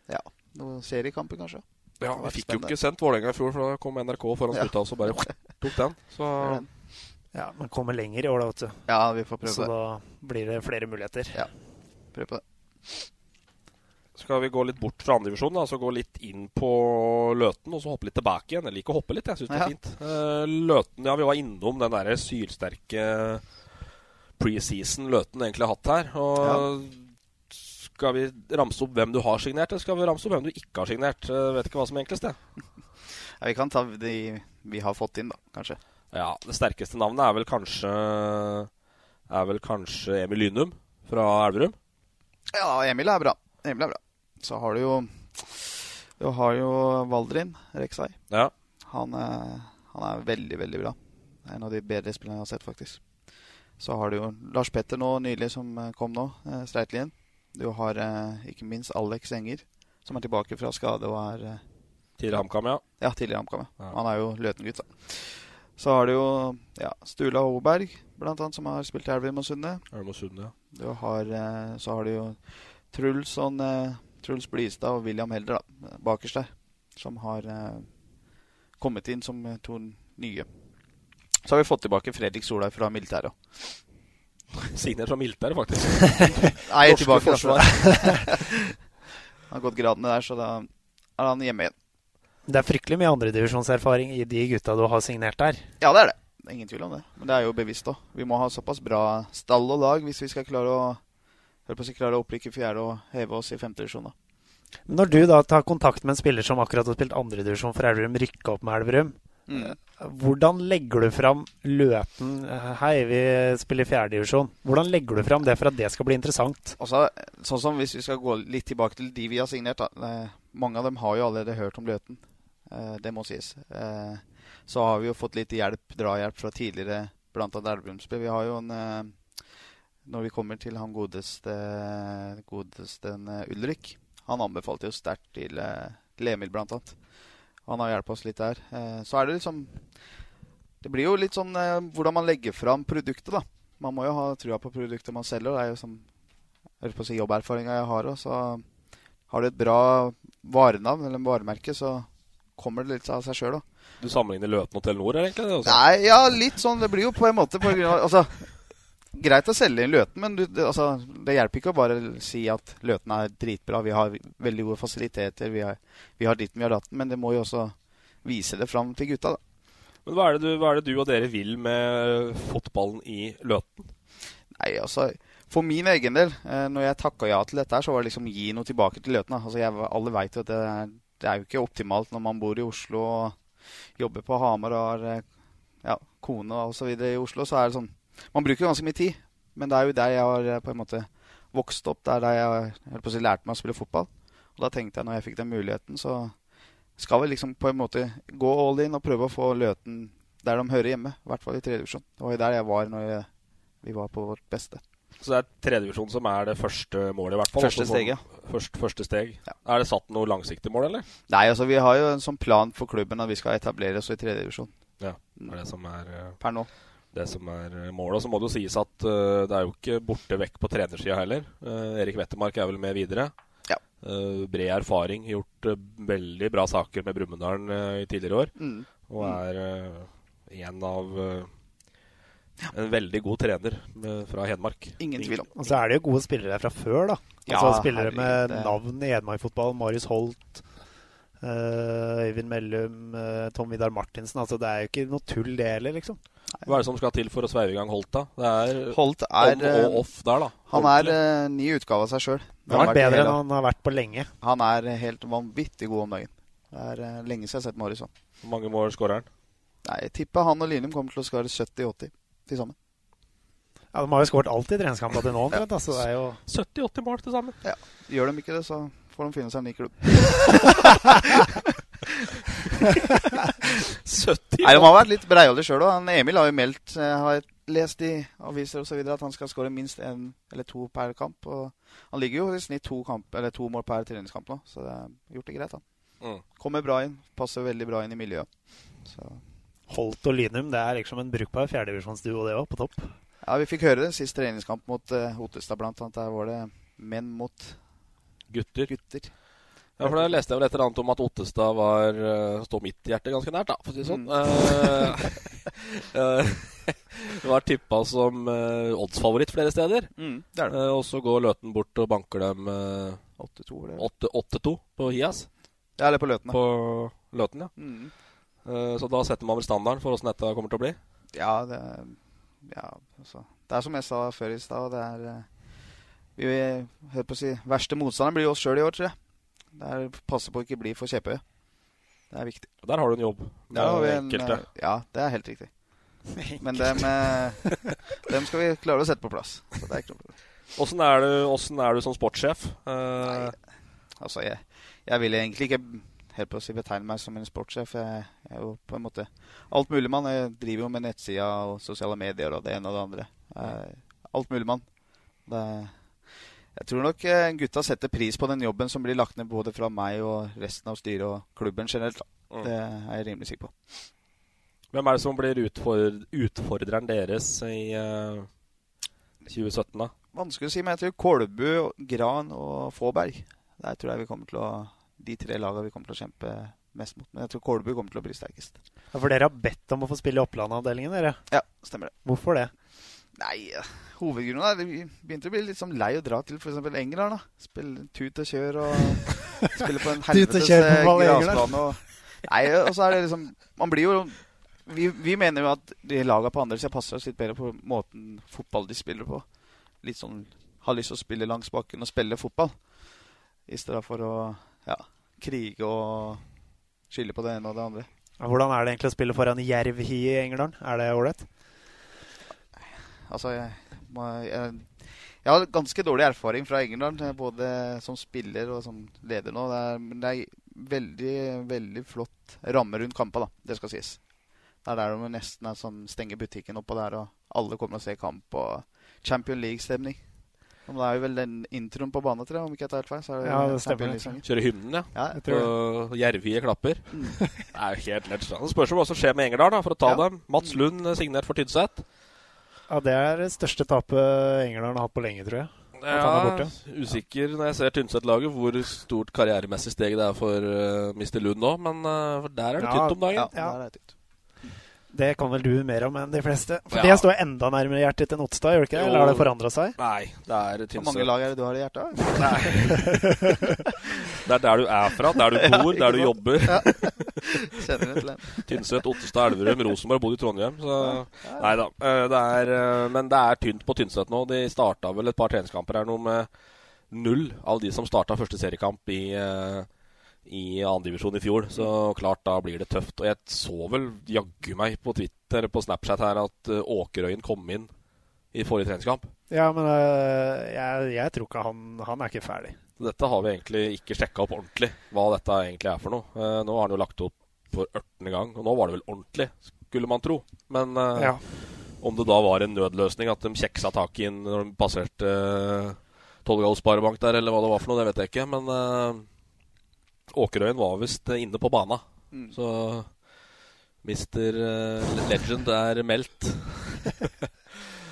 [SPEAKER 5] ja, noen seriekamper, kanskje.
[SPEAKER 3] Ja,
[SPEAKER 5] Det
[SPEAKER 3] Vi
[SPEAKER 5] var
[SPEAKER 3] fikk jo
[SPEAKER 5] spennende.
[SPEAKER 3] ikke sendt Vålerenga i fjor, for da kom NRK foran
[SPEAKER 5] Ja.
[SPEAKER 3] slutta, og så bare tok den. Så
[SPEAKER 4] Ja, Man kommer lenger i år, da, vet du.
[SPEAKER 5] Ja, vi får prøve
[SPEAKER 4] Så
[SPEAKER 5] det.
[SPEAKER 4] da blir det flere muligheter.
[SPEAKER 5] Ja, prøv på det.
[SPEAKER 3] skal vi gå litt bort fra andredivisjonen, da, så gå litt inn på Løten, og så hoppe litt tilbake igjen. Jeg liker å hoppe litt, jeg syns det er
[SPEAKER 5] Ja.
[SPEAKER 3] fint. Eh, Løten, ja, vi var innom den derre sylsterke preseason Løten egentlig har hatt her. Og skal vi ramse opp hvem du har signert, eller skal vi ramse opp hvem du ikke har signert? Eh, vet ikke hva som er enklest, det.
[SPEAKER 5] Ja, vi kan ta de vi har fått inn, da, kanskje.
[SPEAKER 3] Ja, det sterkeste navnet er vel kanskje Er vel kanskje Emil Lynum fra Elverum.
[SPEAKER 5] Ja, Emil er bra. Emil er bra. Så har du jo Du har jo Valdrin Reksai.
[SPEAKER 3] Ja.
[SPEAKER 5] Han er, han er veldig, veldig bra. Det er En av de bedre spillerne jeg har sett, faktisk. Så har du jo Lars Petter nå nylig, som eh, kom nå. eh, Streitlien. Du har eh, ikke minst Alex Enger, som er tilbake fra skade og er eh,
[SPEAKER 3] Tidligere HamKam, ja.
[SPEAKER 5] ja, tidligere HamKam.
[SPEAKER 3] Ja.
[SPEAKER 5] Ja. Han er jo Løten-gutt, da. Så har du jo ja, Stula Håberg, blant annet, som har spilt i Elverum og Sunde.
[SPEAKER 3] Elverum og Sunde, ja.
[SPEAKER 5] Du har, eh, så har du jo Truls, og, eh, Truls Blystad og William Helder da, bakerst der, som har eh, kommet inn som eh, to nye. Så har vi fått tilbake Fredrik Solheim fra militæret.
[SPEAKER 3] Signert fra militæret, faktisk.
[SPEAKER 5] Nei,
[SPEAKER 3] Norske
[SPEAKER 5] tilbake da.
[SPEAKER 3] forsvar.
[SPEAKER 5] han har gått gradene der, så da er han hjemme igjen.
[SPEAKER 4] Det er fryktelig mye andredivisjonserfaring i de gutta du har signert der.
[SPEAKER 5] Ja, det er det. Det er ingen tvil om det. Men det er jo bevisst òg. Vi må ha såpass bra stall og lag hvis vi skal klare å, holdt på å si, klare å opprike fjerde og heve oss i femte divisjon. da.
[SPEAKER 4] Men Når du da tar kontakt med en spiller som akkurat har spilt andredivisjon for Elverum, rykka opp med Elverum,
[SPEAKER 5] Mm.
[SPEAKER 4] hvordan legger du fram Løten eh, Hei, vi spiller fjerdedivisjon. Hvordan legger du fram det for at det skal bli interessant?
[SPEAKER 5] Altså, sånn som Hvis vi skal gå litt tilbake til de vi har signert da. Eh, Mange av dem har jo allerede hørt om Løten. Eh, Det må sies. Eh, Så har vi jo fått litt hjelp, drahjelp fra tidligere blant annet Elverumsby. Vi har jo en eh, Når vi kommer til han godeste, godeste eh, Ulrik Han anbefalte jo sterkt til eh, til Emil, blant annet. Han har hjulpet oss litt der. Eh, Så er det liksom Det blir jo litt sånn eh, hvordan man legger fram produktet, da. Man må jo ha trua på produktet man selger. og Det er jo som jeg holdt på å si jobberfaringa jeg har òg, så har du et bra varenavn eller varemerke, så kommer det litt av seg sjøl òg.
[SPEAKER 3] Du sammenligner Løten og Telenor, er det egentlig? Det også?
[SPEAKER 5] Nei, ja, litt sånn. Det blir jo på en måte på grunn av Altså, greit å selge inn Løten, men du, det, altså, det hjelper ikke å bare si at Løten er dritbra. Vi har veldig gode fasiliteter. Vi har, vi har ditten, vi har datten. Men det må jo også vise det fram til gutta, da.
[SPEAKER 3] Men hva er, det du, hva er det du og dere vil med eh, fotballen i Løten?
[SPEAKER 5] Nei, altså For min egen del, eh, når jeg takka ja til dette, her, så var det liksom gi noe tilbake til Løten. da. Altså, jeg, alle veit jo at det er, det er jo ikke optimalt når man bor i Oslo og jobber på Hamar og har eh, ja, kone og så videre i Oslo. Så er det sånn Man bruker jo ganske mye tid, men det er jo der jeg har eh, på en måte vokst opp. Det er der jeg har jeg holdt på å si, lærte meg å spille fotball. Og da tenkte jeg, når jeg fikk den muligheten, så skal vi liksom på en måte gå all in og prøve å få Løten der de hører hjemme. I hvert fall i tredje divisjon. Det var jo der jeg var når jeg vi var på vårt beste.
[SPEAKER 3] Så det er tredjevisjon som er det første målet, i hvert fall.
[SPEAKER 5] Første
[SPEAKER 3] altså, sånn-
[SPEAKER 5] steget.
[SPEAKER 3] Først, første steg. Er det satt noe langsiktig mål, eller?
[SPEAKER 5] Nei, altså vi har jo en sånn plan for klubben at vi skal etablere oss i tredje divisjon.
[SPEAKER 3] Ja, det er det som er eh,
[SPEAKER 5] Per nå.
[SPEAKER 3] det som er eh, målet. Og så må det jo sies at eh, det er jo ikke borte vekk på trenersida heller. Eh, Erik Wettermark er vel med videre. Eh, bred erfaring. Gjort eh, veldig bra saker med Brumunddal eh, i tidligere år.
[SPEAKER 5] Mm.
[SPEAKER 3] Og er eh, en av eh, En veldig god trener eh, fra Hedmark.
[SPEAKER 5] Ingen tvil om.
[SPEAKER 4] Og så Altså, er det jo gode spillere fra før, da.
[SPEAKER 3] Ja,
[SPEAKER 4] Altså Spillere
[SPEAKER 3] herregud,
[SPEAKER 4] med
[SPEAKER 3] det-
[SPEAKER 4] navn i Hedmark-fotball. Marius Holt, eh, Øyvind Mellum, eh, Tom Vidar Martinsen. Altså, det er jo ikke noe tull, det heller, liksom.
[SPEAKER 3] Hva er det som skal til for å sveive i gang Holt, da? Det er
[SPEAKER 5] Holt er,
[SPEAKER 3] on
[SPEAKER 5] eh,
[SPEAKER 3] og off der, da.
[SPEAKER 5] Han er eh, ny utgave av seg sjøl.
[SPEAKER 4] Det har vært bedre enn han har vært på lenge.
[SPEAKER 5] Han er eh, helt vanvittig god om dagen. Det er eh, lenge siden jeg har sett Marius sånn.
[SPEAKER 3] Hvor mange mål skårer han?
[SPEAKER 5] Nei, Jeg tipper han og Lynum kommer til å skåre 70-80 til sammen.
[SPEAKER 4] Ja, De har jo skåret alt i treningskampene til nå, omtrent. da, så det er jo
[SPEAKER 3] 70-80 mål til sammen.
[SPEAKER 5] Ja. Gjør de ikke det, så får de finne seg en ny klubb.
[SPEAKER 3] 70
[SPEAKER 5] Nei, De har vært litt breiholdige sjøl òg. Emil har jo meldt, eh, har jeg lest i aviser osv., at han skal skåre minst én eller to per kamp. Og han ligger jo i snitt to, kamp, eller to mål per treningskamp nå, så det er gjort det greit. han.
[SPEAKER 3] Mm.
[SPEAKER 5] Kommer bra inn. Passer veldig bra inn i miljøet. Så.
[SPEAKER 4] Holt og Lynum. Det er liksom en brukbar fjerdedivisjonsduo, det òg, på topp.
[SPEAKER 5] Ja, Vi fikk høre det sist treningskamp mot eh, Ottestad, blant annet. Der var det menn mot
[SPEAKER 3] Gutter.
[SPEAKER 5] gutter.
[SPEAKER 3] Ja, for Da leste jeg vel et eller annet om at Ottestad var eh, stå mitt hjerte ganske nært, da, for å si det sånn.
[SPEAKER 5] Mm.
[SPEAKER 3] Eh, eh, var tippa som eh, oddsfavoritt flere steder.
[SPEAKER 5] Mm, det er det.
[SPEAKER 3] Eh, og så går Løten bort og banker dem eh,
[SPEAKER 5] 8-2 eller?
[SPEAKER 3] 8-2 på Hias.
[SPEAKER 5] Ja, eller på Løten. da.
[SPEAKER 3] På Løten, ja.
[SPEAKER 5] Mm.
[SPEAKER 3] Eh, så da setter man vel standarden for åssen dette kommer til å bli.
[SPEAKER 5] Ja, det er, ja, altså. det er som jeg sa før i stad. Det er eh, vi, vi hører på å si Verste motstanderen blir oss sjøl i år, tror jeg. Det er Passe på å ikke bli for kjepphøye. Det er viktig.
[SPEAKER 3] Og Der har du en jobb. med
[SPEAKER 5] Der har vi en,
[SPEAKER 3] enkelte.
[SPEAKER 5] eh, ja, det er helt riktig. Men dem, eh, dem skal vi klare å sette på plass. Så det er ikke noe problem.
[SPEAKER 3] Åssen er, du- åssen er du som sportssjef? Eh,
[SPEAKER 5] Altså, jeg, jeg vil egentlig ikke helt på å si betegne meg som en sportssjef. Jeg, jeg er jo på en måte altmuligmann. Jeg driver jo med nettsida og sosiale medier og det ene og det andre. Jeg er Altmuligmann. Det jeg tror nok eh, gutta setter pris på den jobben som blir lagt ned både fra meg og resten av styret og klubben generelt. da.
[SPEAKER 3] Mm.
[SPEAKER 5] Det er jeg rimelig sikker på.
[SPEAKER 3] Hvem er det som blir utfor utfordreren deres i eh, 2017, da?
[SPEAKER 5] Vanskelig å si, men jeg tror Kolbu, Gran og Fåberg Der tror jeg vi kommer til å De tre lagene vi kommer til å kjempe mest mot. Men jeg tror Kolbu kommer til å bli sterkest.
[SPEAKER 4] Ja, For dere har bedt om å få spille i Oppland-avdelingen, dere.
[SPEAKER 5] Ja, stemmer det.
[SPEAKER 4] Hvorfor det?
[SPEAKER 5] Nei, eh, hovedgrunnen er at vi begynte å bli litt sånn lei å dra til f.eks. England. da. Spille tut og kjør og spille på en
[SPEAKER 4] Tut og
[SPEAKER 5] helvetes
[SPEAKER 4] kjør på
[SPEAKER 5] eh,
[SPEAKER 4] ball i England.
[SPEAKER 5] grasbane. Og, nei, eh, og så er det liksom Man blir jo Vi, vi mener jo at de laga på andre sida passer oss litt bedre på måten fotball de spiller på. Litt sånn har lyst til å spille langs bakken og spille fotball i stedet for å ja, krige og skylde på det ene og det andre.
[SPEAKER 4] Ja, Hvordan er det egentlig å spille foran Jervhi i England? Er det ålreit?
[SPEAKER 5] Altså, jeg, må, jeg, jeg har ganske dårlig erfaring fra England, eh, både som spiller og som leder nå. Det er, men det er veldig, veldig flott ramme rundt kampa, da. Det skal sies. Det er der de nesten er sånn, stenger butikken oppå der, og alle kommer og ser kamp. Og Champion League-stemning. Men Det er jo vel den introen på banen, tror jeg, om ikke jeg tar helt feil. Så er det
[SPEAKER 4] Ja, det
[SPEAKER 5] Champion
[SPEAKER 4] stemmer.
[SPEAKER 5] League-sangen.
[SPEAKER 3] Kjøre hymnen, ja.
[SPEAKER 5] Ja,
[SPEAKER 4] Jeg tror det.
[SPEAKER 3] Og Jervie klapper. Det er jo helt lett. Det spørs jo hva som skjer med Engerdal, da, for å ta
[SPEAKER 5] Mm. Ja.
[SPEAKER 3] dem.
[SPEAKER 5] Mm.
[SPEAKER 3] Mats Lund eh, signert for Tynset.
[SPEAKER 4] Ja, det er det største tapet England har hatt på lenge, tror jeg. At han er
[SPEAKER 3] Ja,
[SPEAKER 4] borte.
[SPEAKER 3] Eh, usikker når jeg ser Tynset-laget, hvor stort karrieremessig steg det er for eh, Mr. Lund nå, men eh, for der er det
[SPEAKER 4] Ja.
[SPEAKER 3] tynt om dagen.
[SPEAKER 5] Ja,
[SPEAKER 4] Ja.
[SPEAKER 5] der er det ut.
[SPEAKER 4] Det kan vel du mer om enn de fleste. For
[SPEAKER 3] Ja.
[SPEAKER 4] det står enda nærmere hjertet enn Otstad, gjør det ikke? det?
[SPEAKER 3] Jo.
[SPEAKER 4] Eller har det forandra seg?
[SPEAKER 3] Nei, det er
[SPEAKER 5] Hvor mange
[SPEAKER 3] Tynset.
[SPEAKER 5] lag er det du har i hjertet?
[SPEAKER 3] Det er der du er fra, der du bor, der du
[SPEAKER 5] sant?
[SPEAKER 3] jobber.
[SPEAKER 5] Kjenner du til den?
[SPEAKER 3] Tynset, Ottestad, Elverum, Rosenborg, bodd i Trondheim. Så nei da. eh, Det er, eh, men det er tynt på Tynset nå. De starta vel et par treningskamper her nå med null av de som starta første seriekamp i eh, i andredivisjon i fjor, så klart da blir det tøft. Og jeg så vel jaggu meg på Twitter eller på Snapchat her at eh, Åkerøyen kom inn i forrige treningskamp.
[SPEAKER 4] Ja, men øh, jeg, jeg tror ikke han Han er ikke ferdig.
[SPEAKER 3] Så Dette har vi egentlig ikke sjekka opp ordentlig, hva dette egentlig er for noe. Eh, nå har han jo lagt opp for 18. gang, og nå var det vel ordentlig, skulle man tro. Men eh,
[SPEAKER 4] Ja.
[SPEAKER 3] om det da var en nødløsning at de kjeksa tak i den når de passerte eh, Tolldal Sparebank der, eller hva det var for noe, det vet jeg ikke. Men eh, Åkerøyen var visst inne på bana, så Mr. eh, Legend er meldt.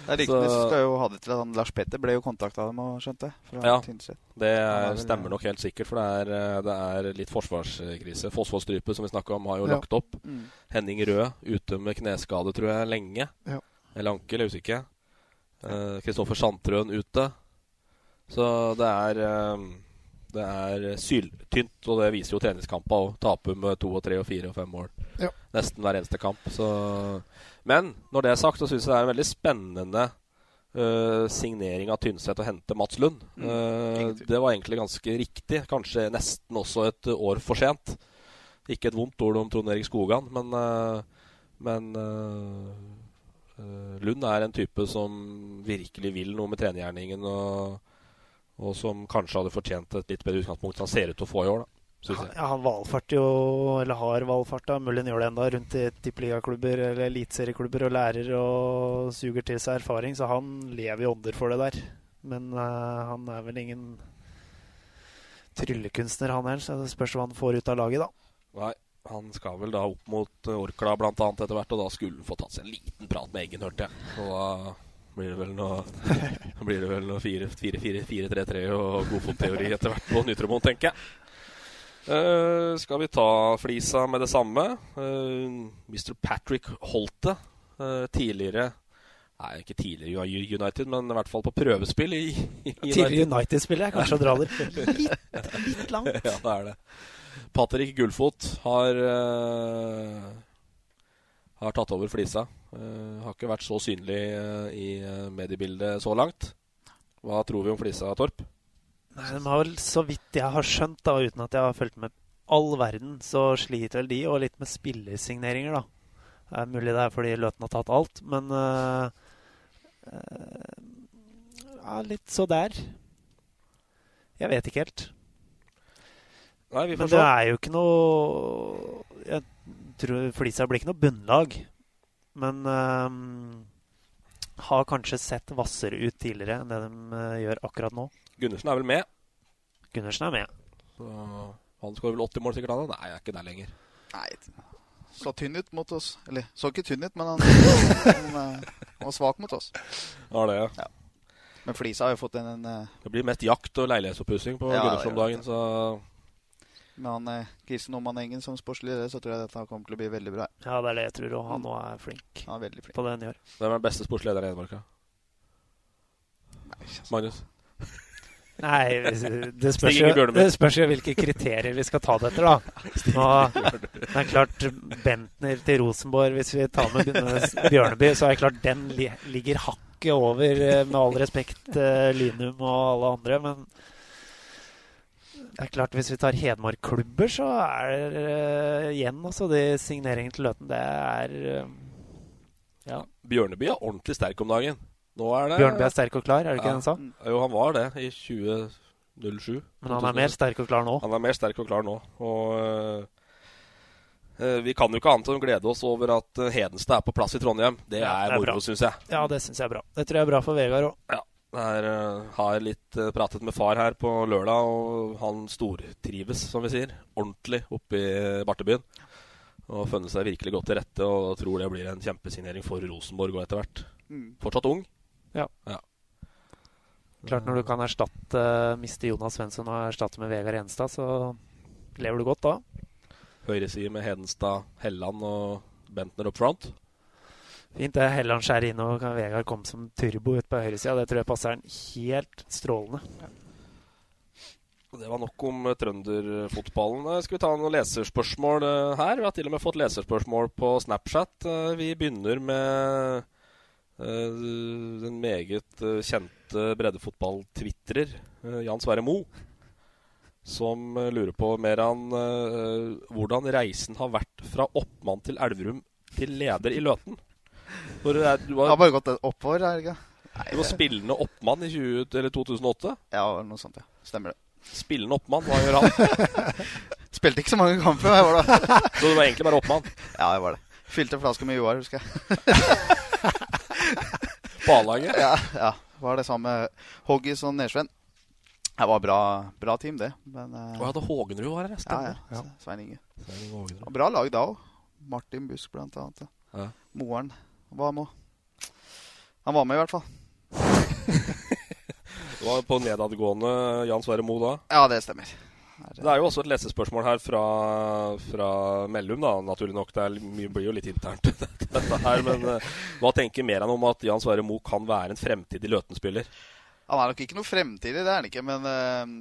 [SPEAKER 5] Det er Ryktene
[SPEAKER 3] Så-
[SPEAKER 5] skal jo ha det til at han Lars Petter ble jo kontakta av dem, og skjønte jeg. Fra
[SPEAKER 3] Ja,
[SPEAKER 5] Tynset.
[SPEAKER 3] det
[SPEAKER 5] Han er
[SPEAKER 3] er,
[SPEAKER 5] vel-
[SPEAKER 3] stemmer nok helt sikkert, for det er, eh, det er litt forsvarskrise. Fosfoldstrypet, som vi snakka om, har jo
[SPEAKER 5] Ja.
[SPEAKER 3] lagt opp.
[SPEAKER 5] Mm.
[SPEAKER 3] Henning Rød ute med kneskade, tror jeg, lenge.
[SPEAKER 5] Ja.
[SPEAKER 3] Eller ankel, jeg husker ikke. Eh, Kristoffer Sandtrøen ute. Så det er eh, Det er syltynt, og det viser jo treningskampa òg. Taper med to og tre og fire og fem mål.
[SPEAKER 6] Ja.
[SPEAKER 3] Nesten hver eneste kamp. Så Men når det er sagt, så syns jeg det er en veldig spennende eh, signering av Tynset å hente Mats Lund. Eh, det var egentlig ganske riktig. Kanskje nesten også et år for sent. Ikke et vondt ord om Trond Erik Skogan, men, eh, men eh, eh, Lund er en type som virkelig vil noe med trenergjerningen, og, og som kanskje hadde fortjent et litt bedre utgangspunkt enn han ser ut til å få i år, da, synes jeg.
[SPEAKER 4] Ja, han valfarter jo, eller har valfarta, mulig han gjør det enda, rundt i tippeligaklubber eller eliteserieklubber og lærer og suger til seg erfaring, så han lever i ånder for det der. Men eh, han er vel ingen tryllekunstner, han heller, så det spørs hva han får ut av laget, da.
[SPEAKER 3] Nei, han skal vel da opp mot eh, Orkla blant annet etter hvert, og da skulle han få tatt seg en liten prat med Eggen, hørte jeg. Og da blir det vel noe da blir det vel noe 4-4-4-3-3 og godfotteori etter hvert på Nytromoen, tenker jeg. Eh, skal vi ta flisa med det samme? Eh, Mr. Patrick Holte, eh, tidligere Nei, ikke tidligere i United, men i hvert fall på prøvespill i, i United.
[SPEAKER 4] Tidligere United-spiller er kanskje å dra det litt- litt langt.
[SPEAKER 3] Ja, det er det. Patrick Gullfot har eh, har tatt over flisa. Eh, har ikke vært så synlig eh, i eh, mediebildet så langt. Hva tror vi om flisa, Torp?
[SPEAKER 4] Nei, de har vel, så vidt jeg har skjønt, da, uten at jeg har fulgt med all verden, så sliter vel de, og litt med spillersigneringer, da. Det er mulig det er fordi Løten har tatt alt, men øh, øh, ja, litt så der. Jeg vet ikke helt.
[SPEAKER 3] Nei, vi får
[SPEAKER 4] men
[SPEAKER 3] se.
[SPEAKER 4] det er jo ikke noe Jeg tror Flisa blir ikke noe bunnlag. Men øh, har kanskje sett hvassere ut tidligere enn det de øh, gjør akkurat nå.
[SPEAKER 3] Gundersen er vel med?
[SPEAKER 4] Gundersen er med.
[SPEAKER 3] Så han skårer vel 80 mål sikkert, han? da? Nei, jeg er ikke der lenger.
[SPEAKER 5] Nei, så tynn ut mot oss. Eller så ikke tynn ut, men han, han, eh, han var svak mot oss.
[SPEAKER 3] Ja, det, ja.
[SPEAKER 5] Men Flisa har jo fått en, en eh,
[SPEAKER 3] det blir mest jakt og leilighetsoppussing på
[SPEAKER 5] Ja, det
[SPEAKER 3] Gundersen om dagen, så
[SPEAKER 5] Med han eh, Kristen Oman Engen som sportslig leder, så tror jeg dette kommer til å bli veldig bra.
[SPEAKER 4] Ja, det er det jeg tror. Og han nå er flink,
[SPEAKER 5] Han er veldig flink.
[SPEAKER 4] på det han gjør.
[SPEAKER 3] Hvem er den beste sportslederen i Hedmark? da? Magnus?
[SPEAKER 4] Nei, det spørs,
[SPEAKER 3] Stig Inge
[SPEAKER 4] jo,
[SPEAKER 3] Bjørneby.
[SPEAKER 4] det spørs jo hvilke kriterier vi skal ta det etter, da. Og det er klart Bentner til Rosenborg, hvis vi tar med Gunnes- Bjørneby, så er det klart den li ligger hakket over, eh, med all respekt, eh, Lynum og alle andre. Men det er klart, hvis vi tar Hedmark-klubber, så er eh, igjen også de signeringene til Løten. Det er eh, ja.
[SPEAKER 3] Bjørneby er ordentlig sterk om dagen. Nå er det
[SPEAKER 4] Bjørneby er sterk og klar, er det ikke det han sa?
[SPEAKER 3] Jo, han var det i 2007.
[SPEAKER 4] Men han er mer sterk og klar nå?
[SPEAKER 3] Han er mer sterk og klar nå. Og øh, øh, vi kan jo ikke annet enn å glede oss over at øh, Hedenstad er på plass i Trondheim. Det
[SPEAKER 4] Ja,
[SPEAKER 3] er
[SPEAKER 4] det er bra.
[SPEAKER 3] moro, syns jeg.
[SPEAKER 4] Ja, det syns jeg er bra. Det tror jeg er bra for Vegard òg.
[SPEAKER 3] Ja. Jeg har litt øh, pratet med far her på lørdag, og han stortrives, som vi sier, ordentlig oppe i Bartebyen. Og funnet seg virkelig godt til rette, og tror det blir en kjempesignering for Rosenborg òg etter hvert.
[SPEAKER 5] Mm.
[SPEAKER 3] Fortsatt ung.
[SPEAKER 4] Ja. Klart når du kan erstatte miste Jonas Svensson og erstatte med Vegard Enstad, så lever du godt da.
[SPEAKER 3] Høyreside med Hedenstad, Helland og Bentner up front.
[SPEAKER 4] Fint det. Helland skjærer inn, og kan Vegard komme som turbo ut på høyresida. Det tror jeg passer han helt strålende.
[SPEAKER 3] Det var nok om eh, trønderfotballen. Eh, Skal vi ta noen leserspørsmål eh, her? Vi har til og med fått leserspørsmål på Snapchat. Eh, Vi begynner med eh, den meget eh, kjente breddefotballtvitrer eh, Jan Sverre Moe. Som eh, lurer på mer an eh, hvordan reisen har vært fra oppmann til Elverum til leder i Løten. For det er- du
[SPEAKER 5] Det
[SPEAKER 3] var,
[SPEAKER 5] har bare gått oppover, er det ikke?
[SPEAKER 3] du var spillende oppmann i 20, eller 2008?
[SPEAKER 5] Ja, noe sånt, ja. Stemmer det.
[SPEAKER 3] Spillende oppmann, hva gjør han?
[SPEAKER 5] Spilte ikke så mange kamper, jeg var da.
[SPEAKER 3] Så du var egentlig bare oppmann?
[SPEAKER 5] Ja, jeg var det. Fylte en flaske med Joar, husker jeg.
[SPEAKER 3] På A-laget?
[SPEAKER 5] Ja, ja. Var det samme med Hoggis og Nesven. Det var bra, bra team, det. Men eh,
[SPEAKER 3] Og jeg hadde Hågenrud var her, ja,
[SPEAKER 5] ja,
[SPEAKER 3] stemmer.
[SPEAKER 5] ja. Svein Inge.
[SPEAKER 3] Svein Inge Hågenrud.
[SPEAKER 5] Og Bra lag da òg. Martin Busk, blant annet.
[SPEAKER 3] Ja.
[SPEAKER 5] Moren var med. også. Han var med, i hvert fall.
[SPEAKER 3] Det var på nedadgående Jan Sverre Moe da.
[SPEAKER 5] Ja, det stemmer.
[SPEAKER 3] Det er jo også et lesespørsmål her fra, fra Mellum, da, naturlig nok. Det er, mye- blir jo litt internt, dette her. Men eh, hva tenker Meran om at Jan Sverre Moe kan være en fremtidig Løten-spiller?
[SPEAKER 5] Han er nok ikke noe fremtidig, det er han ikke, men eh,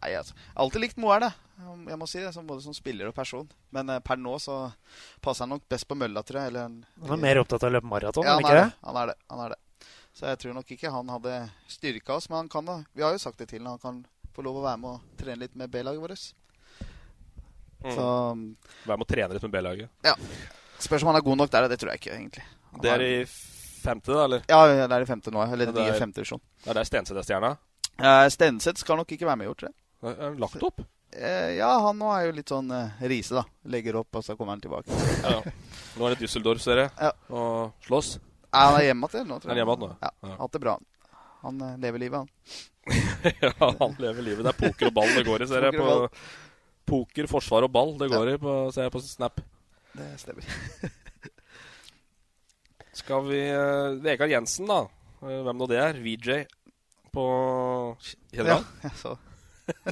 [SPEAKER 5] Nei, altså. Alltid likt Moelv, da. Jeg må si det, som både som spiller og person. Men eh, per nå så passer han nok best på mølla, tror jeg. Eller, en-
[SPEAKER 4] Han er mer opptatt av å løpe maraton,
[SPEAKER 5] ja,
[SPEAKER 4] er han
[SPEAKER 5] han
[SPEAKER 4] ikke
[SPEAKER 5] er
[SPEAKER 4] det?
[SPEAKER 5] det. Han er det. Han er det. Så jeg tror nok ikke han hadde styrka oss, men han kan da. Vi har jo sagt det til han. Han kan få lov å være med og trene litt med B-laget vårt.
[SPEAKER 4] Mm.
[SPEAKER 5] Så um,
[SPEAKER 3] Vær med å trene litt med B-laget.
[SPEAKER 5] ja. Spørs om han er god nok der, det tror jeg ikke, egentlig. Han
[SPEAKER 3] Det er i femte, da? eller?
[SPEAKER 5] Ja, det er i femte nå. Eller
[SPEAKER 3] Ja,
[SPEAKER 5] de
[SPEAKER 3] det er-
[SPEAKER 5] i femte divisjon.
[SPEAKER 3] Ja, det er Stenseth det er stjerna?
[SPEAKER 5] Eh, Stenseth skal nok ikke være med i år, tror jeg.
[SPEAKER 3] Er- er han Lagt opp?
[SPEAKER 5] Eh, ja, han nå er jo litt sånn eh, rise, da. Legger opp, og så kommer han tilbake.
[SPEAKER 3] Ja, ja. Nå er det Düsseldorf, ser jeg. Og slåss.
[SPEAKER 5] Ja, han er hjemme igjen nå, tror
[SPEAKER 3] Er han
[SPEAKER 5] jeg.
[SPEAKER 3] hjemme igjen nå?
[SPEAKER 5] Ja,
[SPEAKER 3] Ja.
[SPEAKER 5] Hatt det bra. Han eh, lever livet, han.
[SPEAKER 3] ja, han lever livet. Det er poker og ball det går i, ser jeg.
[SPEAKER 5] Poker og
[SPEAKER 3] På poker, forsvar og ball det går i, på, ser jeg på Snap.
[SPEAKER 5] Det stemmer.
[SPEAKER 3] Skal vi eh, Vegard Jensen, da. Eh, Hvem nå det er? VJ på Kjenner du han?
[SPEAKER 5] jeg så.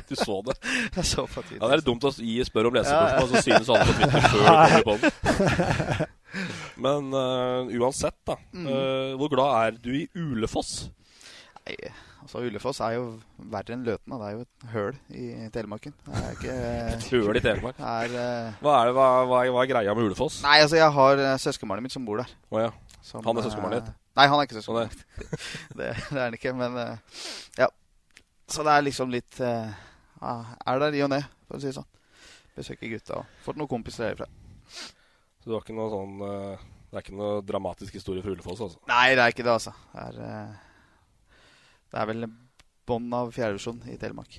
[SPEAKER 3] Du så det?
[SPEAKER 5] Jeg så på Twitter.
[SPEAKER 3] Ja, det er dumt å gi spørre om
[SPEAKER 5] Ja, ja.
[SPEAKER 3] lesespørsmål, og så synes alle på Twitter før de kommer på den. Men eh, uansett, da.
[SPEAKER 5] Mm.
[SPEAKER 3] eh, hvor glad er du i Ulefoss?
[SPEAKER 5] Nei, altså Ulefoss er jo verre enn Løten. Da. Det er jo et høl i Telemarken. Det er ikke
[SPEAKER 3] Et høl i Telemark.
[SPEAKER 5] Det er, eh,
[SPEAKER 3] Hva er, det, hva, hva, er- hva er greia med Ulefoss?
[SPEAKER 5] Nei, altså, jeg har eh, søskenbarnet mitt som bor der.
[SPEAKER 3] Å ja.
[SPEAKER 5] Som,
[SPEAKER 3] Han er
[SPEAKER 5] eh,
[SPEAKER 3] søskenbarnet ditt?
[SPEAKER 5] Nei, han er ikke søskenbarnet mitt. det, det er han ikke, men eh, ja. Så det er liksom litt eh, ja, Er der i og ned, for å si det sånn. Besøker gutta og fått noen kompiser derifra.
[SPEAKER 3] Så du har ikke noe sånn eh, Det er ikke noe dramatisk historie for Ulefoss, altså?
[SPEAKER 5] Nei, det er ikke det, altså. Det er, eh, det er vel bånd av fjerdedivisjon i Telemark.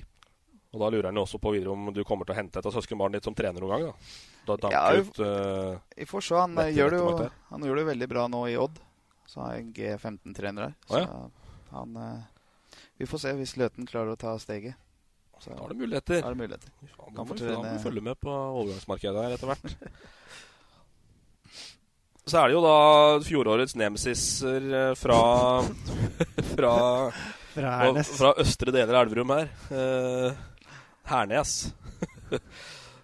[SPEAKER 3] Og da lurer han jo også på videre om du kommer til å hente et av søskenbarnet ditt som trener noen gang, da. Da danker
[SPEAKER 5] Ja, vi-
[SPEAKER 3] ut eh,
[SPEAKER 5] Vi får se. Han, eh,
[SPEAKER 3] Vettig,
[SPEAKER 5] gjør det
[SPEAKER 3] vettig
[SPEAKER 5] jo,
[SPEAKER 3] makt
[SPEAKER 5] han gjorde det veldig bra nå i Odd. Så har jeg en G15-trener der.
[SPEAKER 3] Å, ja.
[SPEAKER 5] Så han eh, Vi får se hvis Løten klarer å ta steget. Så,
[SPEAKER 3] Da er det muligheter.
[SPEAKER 5] Da er det muligheter.
[SPEAKER 3] faen, Da må
[SPEAKER 5] Kan få
[SPEAKER 3] vi da må
[SPEAKER 5] trene-
[SPEAKER 3] vi følge med på overgangsmarkedet her etter hvert. Så er det jo da fjorårets nemesiser eh, fra fra,
[SPEAKER 4] Fra
[SPEAKER 3] og-
[SPEAKER 4] Hernes.
[SPEAKER 3] fra østre deler av Elverum her. Eh, Hernes.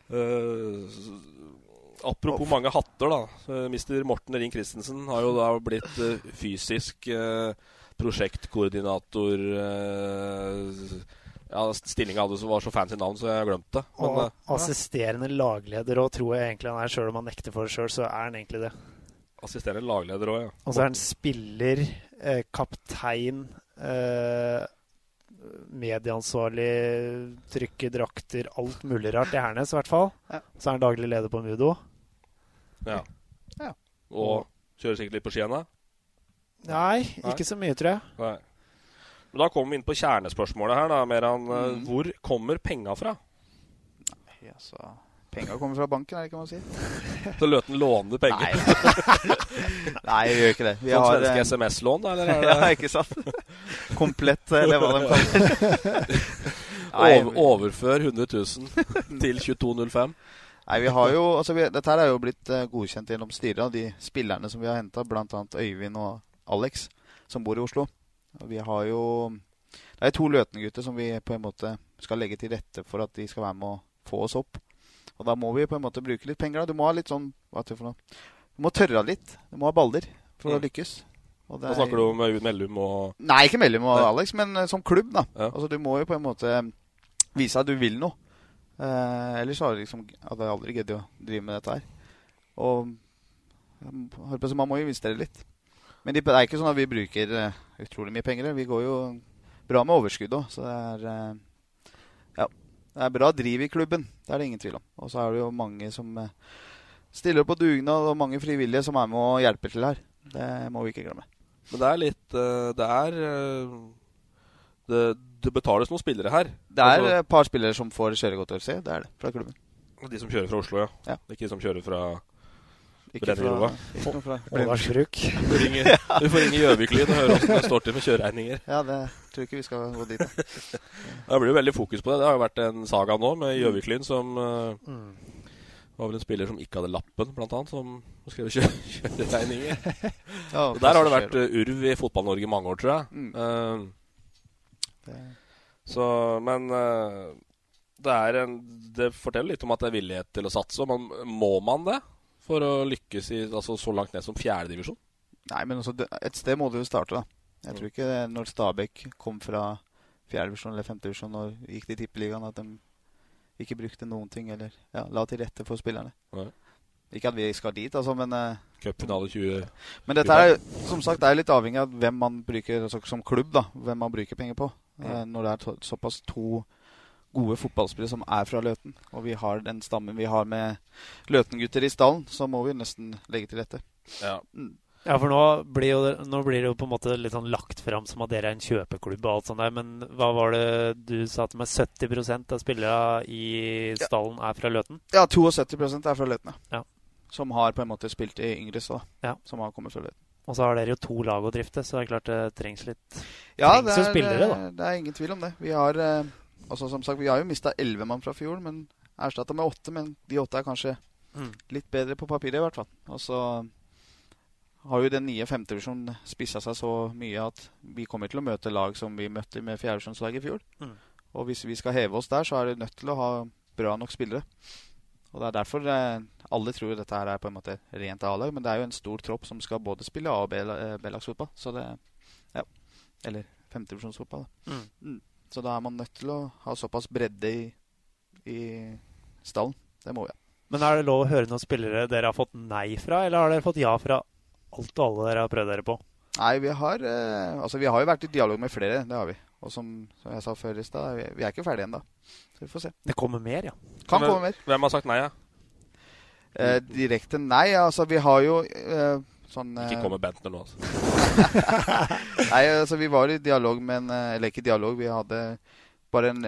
[SPEAKER 3] Eh, s- apropos mange hatter, da. Uh, Mister Morten Ring Christensen har jo da blitt eh, fysisk eh, prosjektkoordinator eh, Ja, stillinga hadde så var så fancy navn, så jeg har glemt det. Men,
[SPEAKER 4] Og
[SPEAKER 3] eh,
[SPEAKER 4] assisterende lagleder òg, tror jeg egentlig han er. Sjøl om han nekter for det sjøl, så er han egentlig det.
[SPEAKER 3] Assisterende lagleder òg, ja.
[SPEAKER 4] Og så er han spiller, eh, kaptein, eh, medieansvarlig, trykke drakter, alt mulig rart i Hernes i hvert fall.
[SPEAKER 5] Ja.
[SPEAKER 4] Så er han daglig leder på Mudo.
[SPEAKER 3] ja.
[SPEAKER 5] Ja.
[SPEAKER 3] Og kjører sikkert litt på skiene.
[SPEAKER 4] Nei, ikke så mye, tror jeg.
[SPEAKER 3] Nei. Men da kommer vi inn på kjernespørsmålet her, da, Meran. Eh, Hvor kommer penga fra?
[SPEAKER 5] Ja, så Penga kommer fra banken, er det ikke hva man sier?
[SPEAKER 3] Så Løten låner penger?
[SPEAKER 5] Nei, vi gjør ikke det. Vi
[SPEAKER 3] Sånn
[SPEAKER 5] har,
[SPEAKER 3] svenske
[SPEAKER 5] eh,
[SPEAKER 3] SMS-lån, da, eller er det
[SPEAKER 5] ja, ikke sant? Komplett, eh, eller hva de kaller det. Nei,
[SPEAKER 3] Over, overfør 100 000 til 2205.
[SPEAKER 5] Nei, vi har jo, altså vi, Dette her er jo blitt eh, godkjent gjennom styret av de spillerne som vi har henta, bl.a. Øyvind og Alex, som bor i Oslo. Og vi har jo Det er to Løten-gutter som vi på en måte skal legge til rette for at de skal være med å få oss opp. Og da må vi på en måte bruke litt penger. da. Du må ha litt sånn hva heter det for noe? Du må tørre litt. Du må ha baller for å
[SPEAKER 3] Mm.
[SPEAKER 5] lykkes. Og det
[SPEAKER 3] Da
[SPEAKER 5] er-
[SPEAKER 3] snakker du om Aud Mellum og
[SPEAKER 5] Nei, ikke mellom og
[SPEAKER 3] Nei.
[SPEAKER 5] Alex, men eh, som klubb, da.
[SPEAKER 3] Ja.
[SPEAKER 5] Altså, du må jo på en måte vise at du vil noe. Eh, ellers har du liksom hadde jeg aldri giddet å drive med dette her. Og jeg holdt på, å si, man må jo investere litt. Men det er ikke sånn at vi bruker eh, utrolig mye penger. Vi går jo bra med overskudd òg, så det er eh, Ja. Det er bra driv i klubben, det er det ingen tvil om. Og så er det jo mange som eh, stiller på dugnad, og mange frivillige som er med og hjelper til her. Det må vi ikke glemme.
[SPEAKER 3] Men det er litt eh, Det er eh, det, det betales noen spillere her.
[SPEAKER 5] Det er
[SPEAKER 3] Altså,
[SPEAKER 5] et par spillere som får kjøregodtgjørelse. Det er det, fra klubben.
[SPEAKER 3] de som kjører fra Oslo, ja.
[SPEAKER 5] eh, Ja.
[SPEAKER 3] Ikke de som kjører fra
[SPEAKER 5] Ikke fra,
[SPEAKER 3] Brennergrova.
[SPEAKER 5] ikke noe fra
[SPEAKER 4] Ådalsbruk.
[SPEAKER 3] Du får ringe- du får ringe Gjøvik-lyd og høre åssen det står til med kjøreregninger.
[SPEAKER 5] Ja, det tror jeg ikke vi skal gå dit. da. Mm.
[SPEAKER 3] Det blir jo veldig fokus på det. Det har jo vært en saga nå med Gjøvik-lyn som eh, Det var vel en spiller som ikke hadde lappen, blant annet, som skrev kjø kjøreregninger.
[SPEAKER 5] Ja,
[SPEAKER 3] Så der har det Mm. vært uh, urv i Fotball-Norge i mange år, tror jeg. Eh,
[SPEAKER 5] Det-
[SPEAKER 3] så, men eh, det, er en, det forteller litt om at det er villighet til å satse. og Man, må man det for å lykkes i, altså, så langt ned som fjerdedivisjon?
[SPEAKER 5] Nei, men også, det- et sted må det jo starte, da. Jeg tror ikke det- når Stabæk kom fra fjerdedivisjon eller femtedivisjon og gikk til tippeligaen, at de ikke brukte noen ting eller ja, la til rette for spillerne.
[SPEAKER 3] Nei.
[SPEAKER 5] Ikke at vi skal dit, altså, men eh,
[SPEAKER 3] Cupfinale 20...
[SPEAKER 5] men dette er jo- som sagt det er litt avhengig av hvem man bruker altså, som klubb, da. Hvem man bruker penger på.
[SPEAKER 4] Mm.
[SPEAKER 5] Eh, Når det er to, såpass to gode fotballspillere som er fra Løten, og vi har den stammen vi har med Løten-gutter i stallen, så må vi nesten legge til rette.
[SPEAKER 3] Ja.
[SPEAKER 4] Ja, for nå blir, jo, det- nå blir det jo på en måte litt sånn lagt fram som at dere er en kjøpeklubb og alt sånt der, men hva var det du sa til meg? 70 av spillerne i stallen er fra Løten?
[SPEAKER 5] Ja, 72 er fra Løten,
[SPEAKER 4] Ja.
[SPEAKER 5] Som har på en måte spilt i yngre så, da.
[SPEAKER 4] Ja.
[SPEAKER 5] Som har kommet fra Løten.
[SPEAKER 4] Og så har dere jo to lag å drifte, så det er klart det trengs litt
[SPEAKER 5] Ja, det
[SPEAKER 4] trengs jo
[SPEAKER 5] er, eh,
[SPEAKER 4] spillere, da.
[SPEAKER 5] det er ingen tvil om det. Vi har eh, altså som sagt, vi har jo mista elleve mann fra fjor, men erstatta med åtte. Men de åtte er kanskje
[SPEAKER 4] Mm.
[SPEAKER 5] litt bedre på papiret, i hvert fall. Og så har jo den nye femtedivisjonen spissa seg så mye at vi kommer til å møte lag som vi møtte med fjerdedivisjonslag i fjor.
[SPEAKER 4] Mm.
[SPEAKER 5] Og hvis vi skal heve oss der, så er det nødt til å ha bra nok spillere. Og det er derfor eh, alle tror jo dette her er på en måte rent A-lag, men det er jo en stor tropp som skal både spille A- og B- eh, B-lagsfotball. Så det Ja. Eller femtedivisjonsfotball, da.
[SPEAKER 4] Mm.
[SPEAKER 5] Mm. Så da er man nødt til å ha såpass bredde i, i stallen. Det må vi ha.
[SPEAKER 4] Men er det lov å høre noen spillere dere har fått nei fra, eller har dere fått ja fra alt og alle dere har prøvd dere på?
[SPEAKER 5] Nei, vi har eh, Altså, vi har jo vært i dialog med flere, det har vi. Og som, som jeg sa før i stad, vi, vi er ikke ferdige ennå. Så vi får se.
[SPEAKER 4] Det kommer mer, ja.
[SPEAKER 5] Kan
[SPEAKER 3] Men
[SPEAKER 5] komme mer.
[SPEAKER 3] Hvem har sagt nei, ja?
[SPEAKER 5] Eh, direkte nei. Altså, vi har jo eh, sånn eh,
[SPEAKER 3] Ikke kom med Bentner nå, altså.
[SPEAKER 5] Nei, altså, vi var i dialog med en eh, Eller ikke dialog, vi hadde bare en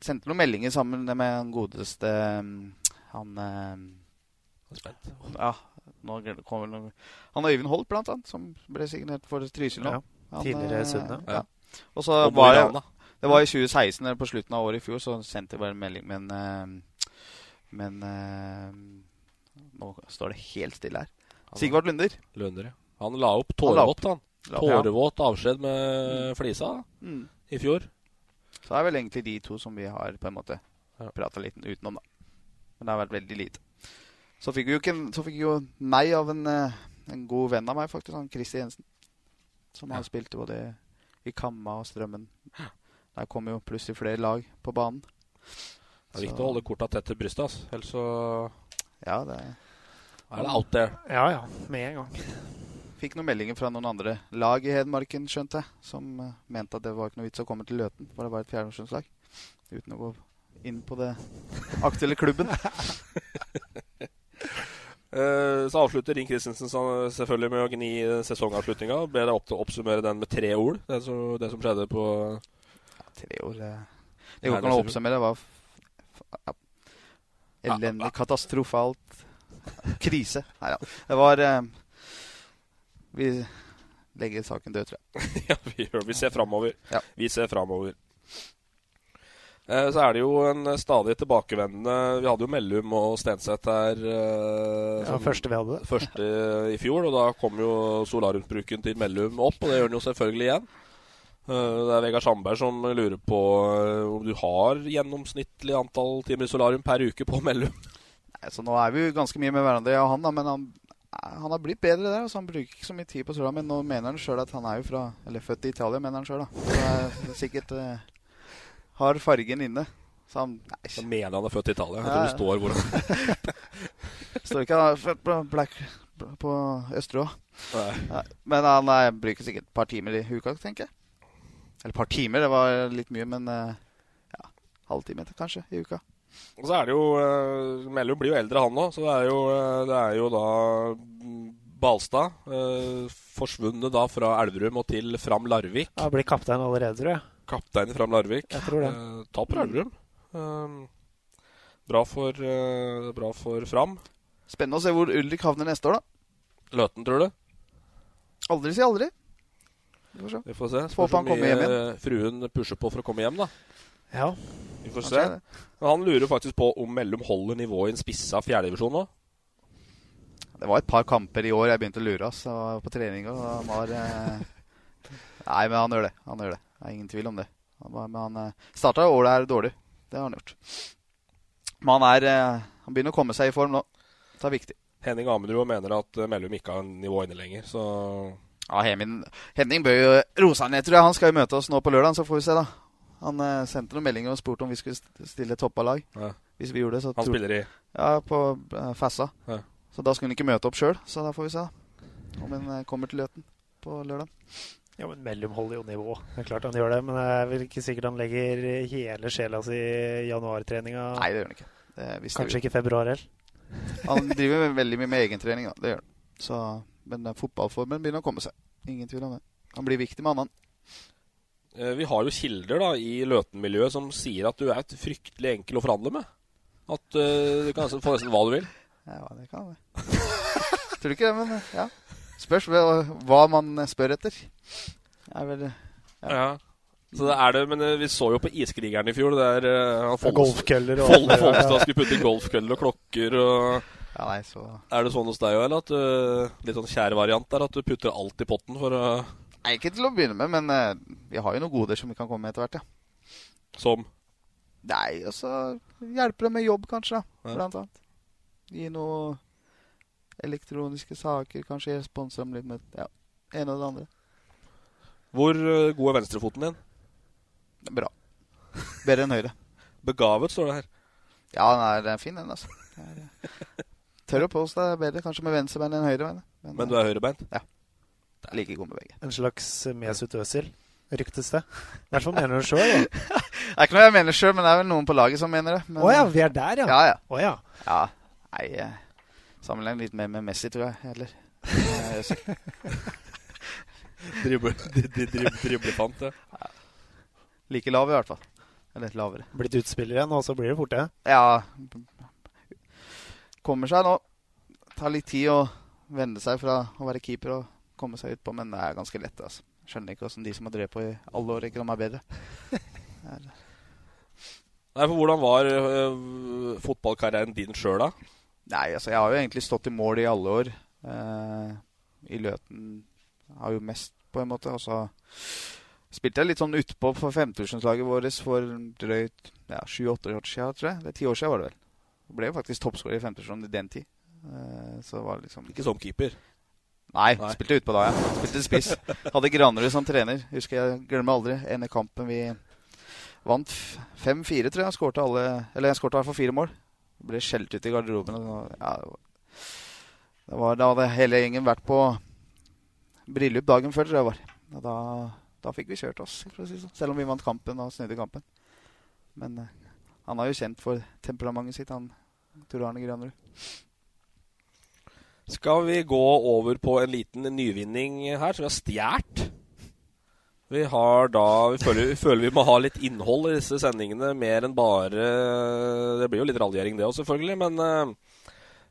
[SPEAKER 5] Sendte noen meldinger sammen med han godeste mm, Han eh,
[SPEAKER 3] Spent.
[SPEAKER 5] Ja, nå gl- kommer det noe Han Øyvind Holt, blant annet, som ble signert for Trysil nå.
[SPEAKER 4] Ja,
[SPEAKER 5] Han,
[SPEAKER 4] tidligere
[SPEAKER 5] eh,
[SPEAKER 4] Sunne.
[SPEAKER 5] Ja. Og så
[SPEAKER 3] Og Mo
[SPEAKER 5] var
[SPEAKER 3] i
[SPEAKER 5] jeg,
[SPEAKER 3] Rana.
[SPEAKER 5] det var i 2016, eller på slutten av året i fjor, så sendte jeg bare en melding, men eh, Men eh, Nå står det helt stille her. Sigvard Lunder.
[SPEAKER 3] Lønner, ja. Han la opp
[SPEAKER 5] Han la opp.
[SPEAKER 3] tårevått, han.
[SPEAKER 5] La-
[SPEAKER 3] Tårevåt avskjed med flisa da,
[SPEAKER 5] Mm.
[SPEAKER 3] i fjor.
[SPEAKER 5] Så er vel egentlig de to som vi har på en måte
[SPEAKER 3] Ja.
[SPEAKER 5] prata litt utenom, da. Men det har vært veldig lite. Så fikk vi jo, ikke en, så fikk vi jo nei av en, eh, en god venn av meg, faktisk. Han Christer Jensen. Som har spilt både i Kamma og Strømmen. Der kom jo plutselig flere lag på banen.
[SPEAKER 3] Det er viktig
[SPEAKER 5] Så-
[SPEAKER 3] å holde korta tett til brystet, altså. ellers så
[SPEAKER 5] Ja, det
[SPEAKER 3] er det out there.
[SPEAKER 4] Ja ja, med en gang.
[SPEAKER 5] Fikk noen meldinger fra noen andre lag i Hedmarken, skjønte jeg, som eh, mente at det var ikke noe vits å komme til Løten, for det var et fjerdedivisjonslag. Uten å gå inn på det aktuelle klubben.
[SPEAKER 3] Eh, Så avslutter Ring Christensen sa- selvfølgelig med å gni eh, sesongavslutninga. Ber deg opp til å oppsummere den med tre ord, det som, det som skjedde på
[SPEAKER 5] Tre år eh, Det
[SPEAKER 3] Nei,
[SPEAKER 5] går
[SPEAKER 3] det
[SPEAKER 5] ikke an å
[SPEAKER 3] ser du.
[SPEAKER 5] oppsummere. Det var f- f- ja. elendig, katastrofalt, krise. Nei da. Det var eh, Vi legger saken død, tror jeg.
[SPEAKER 3] Ja, vi, gjør- vi ser framover.
[SPEAKER 5] Ja.
[SPEAKER 3] Vi ser framover. Eh, Så er det jo en eh, stadig tilbakevendende Vi hadde jo Mellum og Stenseth her. eh,
[SPEAKER 4] Det var
[SPEAKER 3] som-
[SPEAKER 4] første vi hadde.
[SPEAKER 3] første i fjor, og da kom jo solariumsbruken til Mellum opp, og det gjør han jo selvfølgelig igjen. Eh, Det er Vegard Sandberg som lurer på eh, om du har gjennomsnittlig antall timer i solarium per uke på Mellum.
[SPEAKER 5] Nei, så nå er vi jo ganske mye med hverandre, jeg og han, da, men han, han har blitt bedre der. Altså, han bruker ikke så mye tid på sola, men nå mener han sjøl at han er jo fra Eller født i Italia, mener han sjøl, da. Så det er sikkert eh, har fargen inne. Så han
[SPEAKER 3] Jeg
[SPEAKER 5] Nei,
[SPEAKER 3] mener han er født i Italia. Jeg
[SPEAKER 5] Ja,
[SPEAKER 3] tror
[SPEAKER 5] ja.
[SPEAKER 3] det står hvor han
[SPEAKER 5] står ikke han er født på Black på Østeråa.
[SPEAKER 3] Nei.
[SPEAKER 5] Nei, Men han eh, bruker sikkert et par timer i uka, tenker jeg. Eller et par timer, det var litt mye, men eh, ja, halvtime til kanskje i uka.
[SPEAKER 3] Og så er det jo eh, Mellum blir jo eldre, han òg, så det er jo, eh, det er jo da mm, Balstad. eh, forsvunnet da fra Elverum og til Fram Larvik.
[SPEAKER 4] Ja, blir kaptein allerede, tror jeg.
[SPEAKER 3] Kaptein i Fram Larvik.
[SPEAKER 4] Jeg tror det.
[SPEAKER 3] Eh, Taper Elverum. Eh, bra, for, eh, bra for Fram.
[SPEAKER 5] Spennende å se hvor Ulrik havner neste år, da.
[SPEAKER 3] Løten, tror du?
[SPEAKER 5] Aldri si aldri. Vi får se.
[SPEAKER 3] Vi får se.
[SPEAKER 5] Får
[SPEAKER 3] Spørs hvor
[SPEAKER 5] han komme
[SPEAKER 3] mye
[SPEAKER 5] hjem
[SPEAKER 3] fruen pusher på for å komme hjem, da.
[SPEAKER 4] Ja.
[SPEAKER 3] Vi får
[SPEAKER 5] Han
[SPEAKER 3] se.
[SPEAKER 5] sier det.
[SPEAKER 3] Men han lurer faktisk på om Mellum holder nivået i en spissa fjerdedivisjon nå.
[SPEAKER 5] Det var et par kamper i år jeg begynte å lure oss Jeg var på trening. Og han var eh... Nei, men han gjør det. Han gjør det. Det er ingen tvil om det. Han var, men han eh, starta året her dårlig. Det har han gjort. Men han, er, eh... han begynner å komme seg i form nå. Det er viktig.
[SPEAKER 3] Henning Amundrud mener at eh, Mellum ikke har nivå inne lenger, så
[SPEAKER 5] Ja, Hemin, Henning bør jo rose han ned, tror jeg. Han skal jo møte oss nå på lørdag, så får vi se, da. Han eh, sendte noen meldinger og spurte om vi skulle st- stille toppa lag.
[SPEAKER 3] Ja.
[SPEAKER 5] Hvis vi gjorde det, så
[SPEAKER 3] Han
[SPEAKER 5] tror-
[SPEAKER 3] spiller i-
[SPEAKER 5] Ja, på eh, Fassa.
[SPEAKER 3] Ja.
[SPEAKER 5] Så da skulle han ikke møte opp sjøl, så da får vi se, da. Om han eh, kommer til Løten på lørdag.
[SPEAKER 4] Ja, men Mellum holder jo nivå. Det er klart han gjør det, men det er vel ikke sikkert han legger hele sjela si i januartreninga.
[SPEAKER 5] Nei, det gjør han ikke. Det visste
[SPEAKER 4] Kanskje
[SPEAKER 5] vi.
[SPEAKER 4] ikke februar heller.
[SPEAKER 5] Han driver med veldig mye med egentrening, da. Det gjør han. Så, men eh, fotballformen begynner å komme seg. Ingen tvil om det. Han blir viktig med annen.
[SPEAKER 3] Eh, Vi har jo kilder da i Løten-miljøet som sier at du er et fryktelig enkel å forhandle med. At eh, du kan nesten få nesten hva du vil.
[SPEAKER 5] Ja, det kan det. Tror du ikke det, men eh, ja. Spørs hva hva man spør etter. Er vel
[SPEAKER 3] Ja. Så det er det, Men eh, vi så jo på Iskrigeren i fjor. Der eh, han Fol-
[SPEAKER 4] golfkøller og-
[SPEAKER 3] Fol- Folstad skulle putte golfkøller og klokker og
[SPEAKER 5] Ja, nei, så...
[SPEAKER 3] Er det sånn hos deg òg, eller? At eh, litt sånn kjær variant der, at du putter alt i potten for å
[SPEAKER 5] Nei, ikke til å begynne med, men eh, vi har jo noen goder som vi kan komme med etter hvert, ja.
[SPEAKER 3] Som?
[SPEAKER 5] Nei, og så hjelper det med jobb, kanskje, da.
[SPEAKER 3] Ja.
[SPEAKER 5] Blant annet. Gi noe elektroniske saker, kanskje sponse dem litt med ja, ene og det andre.
[SPEAKER 3] Hvor eh, god er venstrefoten din?
[SPEAKER 5] Bra. Bedre enn høyre.
[SPEAKER 3] Begavet, står det her.
[SPEAKER 5] Ja, den er, den er fin, den, altså. Den er, eh, Tør å påstå det er bedre kanskje med venstrebein enn høyrebein.
[SPEAKER 3] Men du er høyrebeint?
[SPEAKER 5] Ja. Like god med begge.
[SPEAKER 4] En slags Mesut Özil, ryktes det. I hvert fall mener du sjøl.
[SPEAKER 5] Det er ikke noe jeg mener sjøl, men det er vel noen på laget som mener det. Men,
[SPEAKER 4] Å ja, vi er der, ja.
[SPEAKER 5] Ja, ja.
[SPEAKER 4] Å ja.
[SPEAKER 5] ja. Nei, eh, sammenlign litt mer med Messi, tror jeg, heller. Eh, Özil.
[SPEAKER 3] Drible- dri- dri- drib- driblefant, ja.
[SPEAKER 5] Like lav, i hvert fall. Eller lavere.
[SPEAKER 4] Blitt utspiller igjen, og så blir det fort det.
[SPEAKER 5] Ja. Kommer seg nå. Tar litt tid å vende seg fra å være keeper og komme seg utpå, men det er ganske lett. altså. Skjønner ikke hvordan de som har drevet på i alle år, ikke kan være bedre. Det er-
[SPEAKER 3] Nei, for Hvordan var øh, fotballkarrieren din sjøl, da?
[SPEAKER 5] Nei, altså jeg har jo egentlig stått i mål i alle år. Eh, I Løten har jo mest, på en måte. Og så spilte jeg litt sånn utpå for 5000-laget vårt for drøyt ja, 7-8 år siden, tror jeg. Eller 10 år siden var det vel. Jeg ble jo faktisk toppskårer i 5000 i den tid. Eh, så det var liksom
[SPEAKER 3] Ikke som keeper?
[SPEAKER 5] Nei,
[SPEAKER 3] Nei.
[SPEAKER 5] spilte utpå da, ja. Spilte spiss. Hadde Granerud som trener. Husker jeg glemmer aldri. Ene kampen vi vant f- 5-4, tror jeg. Skårte alle Eller jeg skårte i hvert fall fire mål. Ble skjelt ut i garderoben. Og, ja, det var- det var, da hadde hele gjengen vært på bryllup dagen før, tror jeg det var. Og da, da fikk vi kjørt oss, for å si det sånn. Selv om vi vant kampen og snudde kampen. Men eh, han er jo kjent for temperamentet sitt, han Tor Arne Granerud.
[SPEAKER 3] Skal vi gå over på en liten nyvinning her, som vi har stjålet? Vi har da vi føler, vi føler vi må ha litt innhold i disse sendingene, mer enn bare Det blir jo litt raljering, det òg, selvfølgelig, men øh,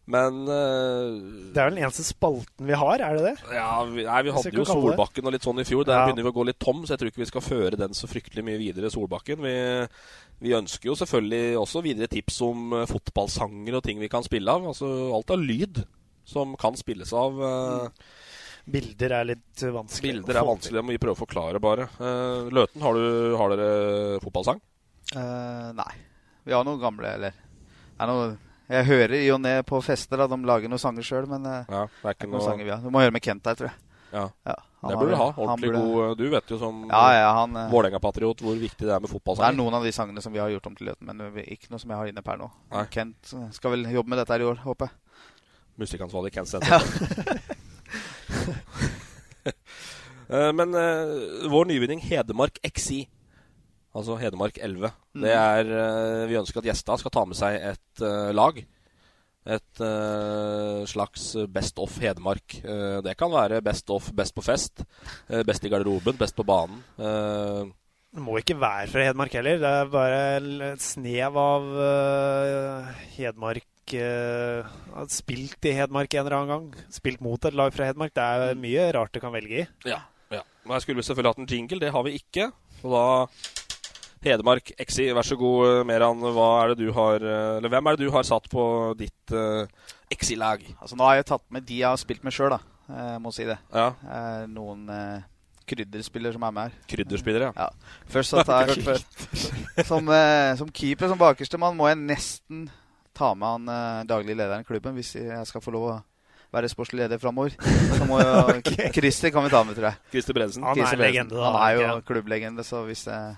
[SPEAKER 3] Men øh,
[SPEAKER 4] Det er vel den eneste spalten vi har, er det det?
[SPEAKER 3] ja, vi, nei, vi
[SPEAKER 4] Hvis jeg kan
[SPEAKER 3] hadde jo
[SPEAKER 4] kalle det.
[SPEAKER 3] Solbakken og litt sånn i fjor. Der
[SPEAKER 4] Ja.
[SPEAKER 3] begynner vi å gå litt tom, så jeg tror ikke vi skal føre den så fryktelig mye videre. Solbakken Vi, vi ønsker jo selvfølgelig også videre tips om eh, fotballsanger og ting vi kan spille av. Altså alt av lyd som kan spilles av.
[SPEAKER 5] Mm.
[SPEAKER 3] eh,
[SPEAKER 4] Bilder er litt vanskelig.
[SPEAKER 3] Bilder er vanskelig, det må vi prøve å forklare, bare. Eh, Løten, har, du, har dere fotballsang?
[SPEAKER 5] Eh, nei. Vi har noen gamle, eller det er noe, Jeg hører i og ned på fester at de lager noen sanger sjøl, men eh,
[SPEAKER 3] Ja, det er ikke
[SPEAKER 5] noen
[SPEAKER 3] noe-
[SPEAKER 5] sanger vi har. Du må høre med Kent der, tror jeg.
[SPEAKER 3] Ja.
[SPEAKER 5] han
[SPEAKER 3] det
[SPEAKER 5] har
[SPEAKER 3] burde
[SPEAKER 5] det.
[SPEAKER 3] du ha.
[SPEAKER 5] Han
[SPEAKER 3] Ordentlig
[SPEAKER 5] burde-
[SPEAKER 3] god eh, Du vet jo som
[SPEAKER 5] Ja, ja, han, eh,
[SPEAKER 3] Vålerenga-patriot hvor viktig det er med
[SPEAKER 5] Det er
[SPEAKER 3] fotballsanger.
[SPEAKER 5] noen av de sangene som vi har gjort om til Løten, men vi- ikke noe som jeg har inne per nå.
[SPEAKER 3] Nei.
[SPEAKER 5] Kent eh, skal vel jobbe med dette her i år, håper jeg.
[SPEAKER 3] Musikkansvarlig Ken Stenseth. Eh, Men eh, vår nyvinning Hedmark XI, altså Hedmark 11,
[SPEAKER 6] Mm.
[SPEAKER 3] det er eh, Vi ønsker at gjesta skal ta med seg et eh, lag. Et eh, slags Best of Hedmark. Eh, det kan være Best of best på fest. eh, best i garderoben, best på banen. eh,
[SPEAKER 4] Det må ikke være fra Hedmark heller. Det er bare l- et snev av øh, Hedmark øh, har Spilt i Hedmark en eller annen gang. Spilt mot et lag fra Hedmark. Det er
[SPEAKER 3] Mm.
[SPEAKER 4] mye rart du kan velge i.
[SPEAKER 3] Ja. ja. Men jeg skulle selvfølgelig hatt en jingle. Det har vi ikke. Og da Hedmark, Exi, vær så god, eh, Meran. Hva er det du har, eh, eller hvem er det du har satt på ditt eh, Exi-lag?
[SPEAKER 5] Altså, nå har jeg tatt med de jeg har spilt med sjøl, da. Jeg må si det.
[SPEAKER 3] Ja.
[SPEAKER 5] Eh, Noen eh, krydderspillere som er med her.
[SPEAKER 3] Krydderspillere,
[SPEAKER 5] ja. Først satt jeg først- som, eh, som keeper, som bakerste mann, må jeg nesten ta med han eh, daglig lederen i klubben hvis jeg skal få lov å være sportslig leder framover. Så må jo
[SPEAKER 4] Ok.
[SPEAKER 5] Christer kan vi ta med, tror jeg.
[SPEAKER 3] Christer Bredesen.
[SPEAKER 4] Han er
[SPEAKER 5] Christer Bredesen.
[SPEAKER 4] legende, da,
[SPEAKER 5] Han er jo
[SPEAKER 4] ikke?
[SPEAKER 5] klubblegende, så hvis jeg,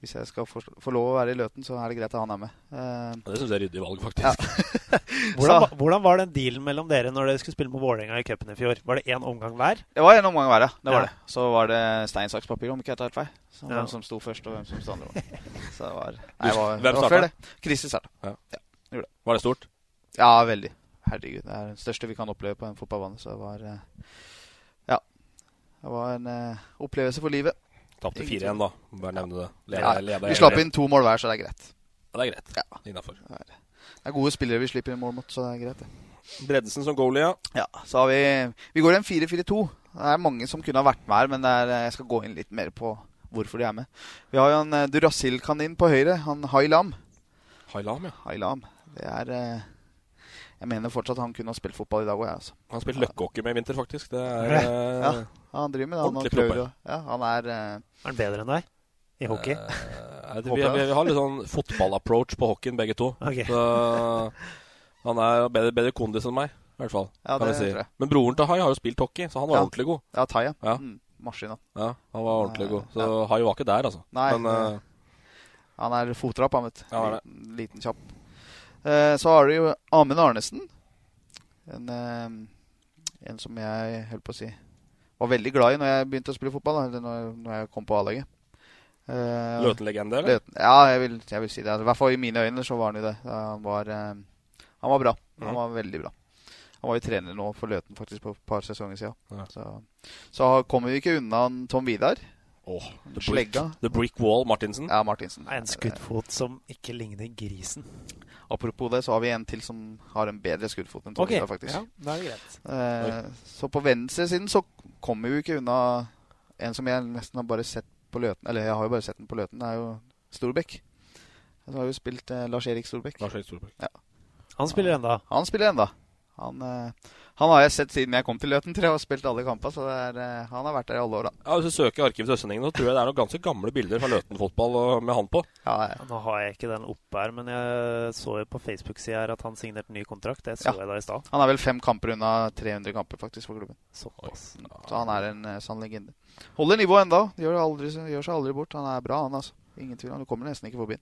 [SPEAKER 5] hvis jeg skal få, få lov å være i Løten, så er det greit at han er med. Eh,
[SPEAKER 3] Ja, det syns jeg er ryddig valg, faktisk.
[SPEAKER 4] Hvordan, va- hvordan var den dealen mellom dere når dere skulle spille med Vålerenga i cupen i fjor? Var det én omgang hver?
[SPEAKER 5] Det var en omgang hver, ja. Det var
[SPEAKER 4] Ja.
[SPEAKER 5] det. Så var det stein, saks, papir, om ikke jeg tar helt feil. Så
[SPEAKER 4] Ja.
[SPEAKER 5] Hvem som sto først, og hvem som sto andre. Så det var,
[SPEAKER 3] Du-
[SPEAKER 5] nei, det var,
[SPEAKER 3] hvem
[SPEAKER 5] det var
[SPEAKER 3] starta?
[SPEAKER 5] før det. Christer starta.
[SPEAKER 3] Ja.
[SPEAKER 5] gjorde det.
[SPEAKER 3] Var det stort?
[SPEAKER 5] Ja, veldig. Herregud. Det er det største vi kan oppleve på en fotballbane. Så det var eh, Ja. Det var en eh, opplevelse for livet.
[SPEAKER 3] Tapte
[SPEAKER 5] Ingen
[SPEAKER 3] 4-1, da. Bare nevne det.
[SPEAKER 5] Ja, vi slapp inn to mål hver, så det er greit.
[SPEAKER 3] Ja, det er greit. Innafor.
[SPEAKER 5] Det er gode spillere vi slipper inn mål mot, så det er greit, det.
[SPEAKER 3] Bredesen som goalie, ja.
[SPEAKER 5] Ja, så har vi Vi går i en 4-4-2. Det er mange som kunne ha vært med her, men det er, eh, jeg skal gå inn litt mer på hvorfor de er med. Vi har jo en eh, Duracell-kanin på høyre, han Hailam.
[SPEAKER 3] Hailam, ja.
[SPEAKER 5] Hailam. Det er eh, Jeg mener fortsatt han kunne ha spilt fotball i dag òg, jeg, altså.
[SPEAKER 3] Han har spilt løkkehockey med i vinter, faktisk. Det er
[SPEAKER 4] Ja.
[SPEAKER 3] eh,
[SPEAKER 5] Ja, han driver med det. Han,
[SPEAKER 3] ordentlig
[SPEAKER 5] og prøver,
[SPEAKER 3] proper.
[SPEAKER 5] å- ja, han er eh,
[SPEAKER 4] Er han bedre enn deg i hockey?
[SPEAKER 3] Nei, eh, det, vi,
[SPEAKER 5] Håper jeg.
[SPEAKER 3] vi, vi har litt sånn fotball-approach på hockeyen, begge to.
[SPEAKER 4] Ok.
[SPEAKER 3] Så han er bedre, bedre kondis enn meg, i hvert fall.
[SPEAKER 5] Ja,
[SPEAKER 3] kan
[SPEAKER 5] det
[SPEAKER 3] vi si.
[SPEAKER 5] tror jeg.
[SPEAKER 3] Men broren til Hai har jo spilt hockey, så han var
[SPEAKER 5] Ja.
[SPEAKER 3] ordentlig god.
[SPEAKER 5] Ja, Thai, ja.
[SPEAKER 3] Ja.
[SPEAKER 5] Mm, Maskin, da.
[SPEAKER 3] Ja, han var ordentlig god. Så Hai var ikke der, altså.
[SPEAKER 5] Nei,
[SPEAKER 3] Men eh,
[SPEAKER 5] han er fotrapp, han, vet du.
[SPEAKER 3] Ja, han er
[SPEAKER 5] liten, liten kjapp. Eh, så har du jo Amund Arnesen. En, eh, en som jeg holdt på å si var veldig glad i når jeg begynte å spille fotball. Da, eller når, når jeg kom på A-laget. Eh,
[SPEAKER 3] Løten-legende, eller?
[SPEAKER 5] Løten- Ja, jeg vil, jeg vil si det. I hvert fall i mine øyne så var han jo det. Ja, Han var, eh, han var bra. Han
[SPEAKER 3] Ja.
[SPEAKER 5] var veldig bra. Han var jo trener nå for Løten faktisk på et par sesonger siden.
[SPEAKER 3] Ja.
[SPEAKER 5] Så, så kommer vi ikke unna han Tom Vidar.
[SPEAKER 3] Åh, the, brick,
[SPEAKER 5] Slegga.
[SPEAKER 3] the Brick Wall Martinsen.
[SPEAKER 5] Ja, Martinsen. Eh,
[SPEAKER 4] En skuddfot som ikke ligner grisen.
[SPEAKER 5] Apropos det, så har vi en til som har en bedre skuddfot enn Tom
[SPEAKER 4] Ok,
[SPEAKER 5] Vidar, faktisk.
[SPEAKER 4] ja, da er det greit.
[SPEAKER 5] Eh, så på venstresiden så kommer vi jo ikke unna en som jeg nesten har bare sett på Løten. Eller jeg har jo bare sett den på Løten, det er jo Storbekk. Så har vi jo spilt eh, Lars-Erik Storbekk.
[SPEAKER 3] Lars Erik Solberg.
[SPEAKER 4] Han spiller enda.
[SPEAKER 5] Han spiller ennå. Han, eh, han har jeg sett siden jeg kom til Løten, tror jeg, og spilt alle kampene. Så det er, eh, han har vært der i alle år, da.
[SPEAKER 3] Ja, Hvis du søker i arkivet til Østlendingen, så tror jeg det er noen ganske gamle bilder fra Løten-fotball og- med han på.
[SPEAKER 5] Ja, ja.
[SPEAKER 4] Nå har jeg ikke den oppe her, men jeg så jo på Facebook-sida her at han signerte ny kontrakt. Det så
[SPEAKER 5] Ja.
[SPEAKER 4] jeg da i stad.
[SPEAKER 5] Han er vel fem kamper unna 300 kamper, faktisk, for klubben.
[SPEAKER 4] Såpass.
[SPEAKER 5] Så han er en eh, sann legende. Holder nivået ennå. Gjør, aldri- gjør seg aldri bort. Han er bra, han, altså. Ingen tvil. Han kommer nesten ikke forbi.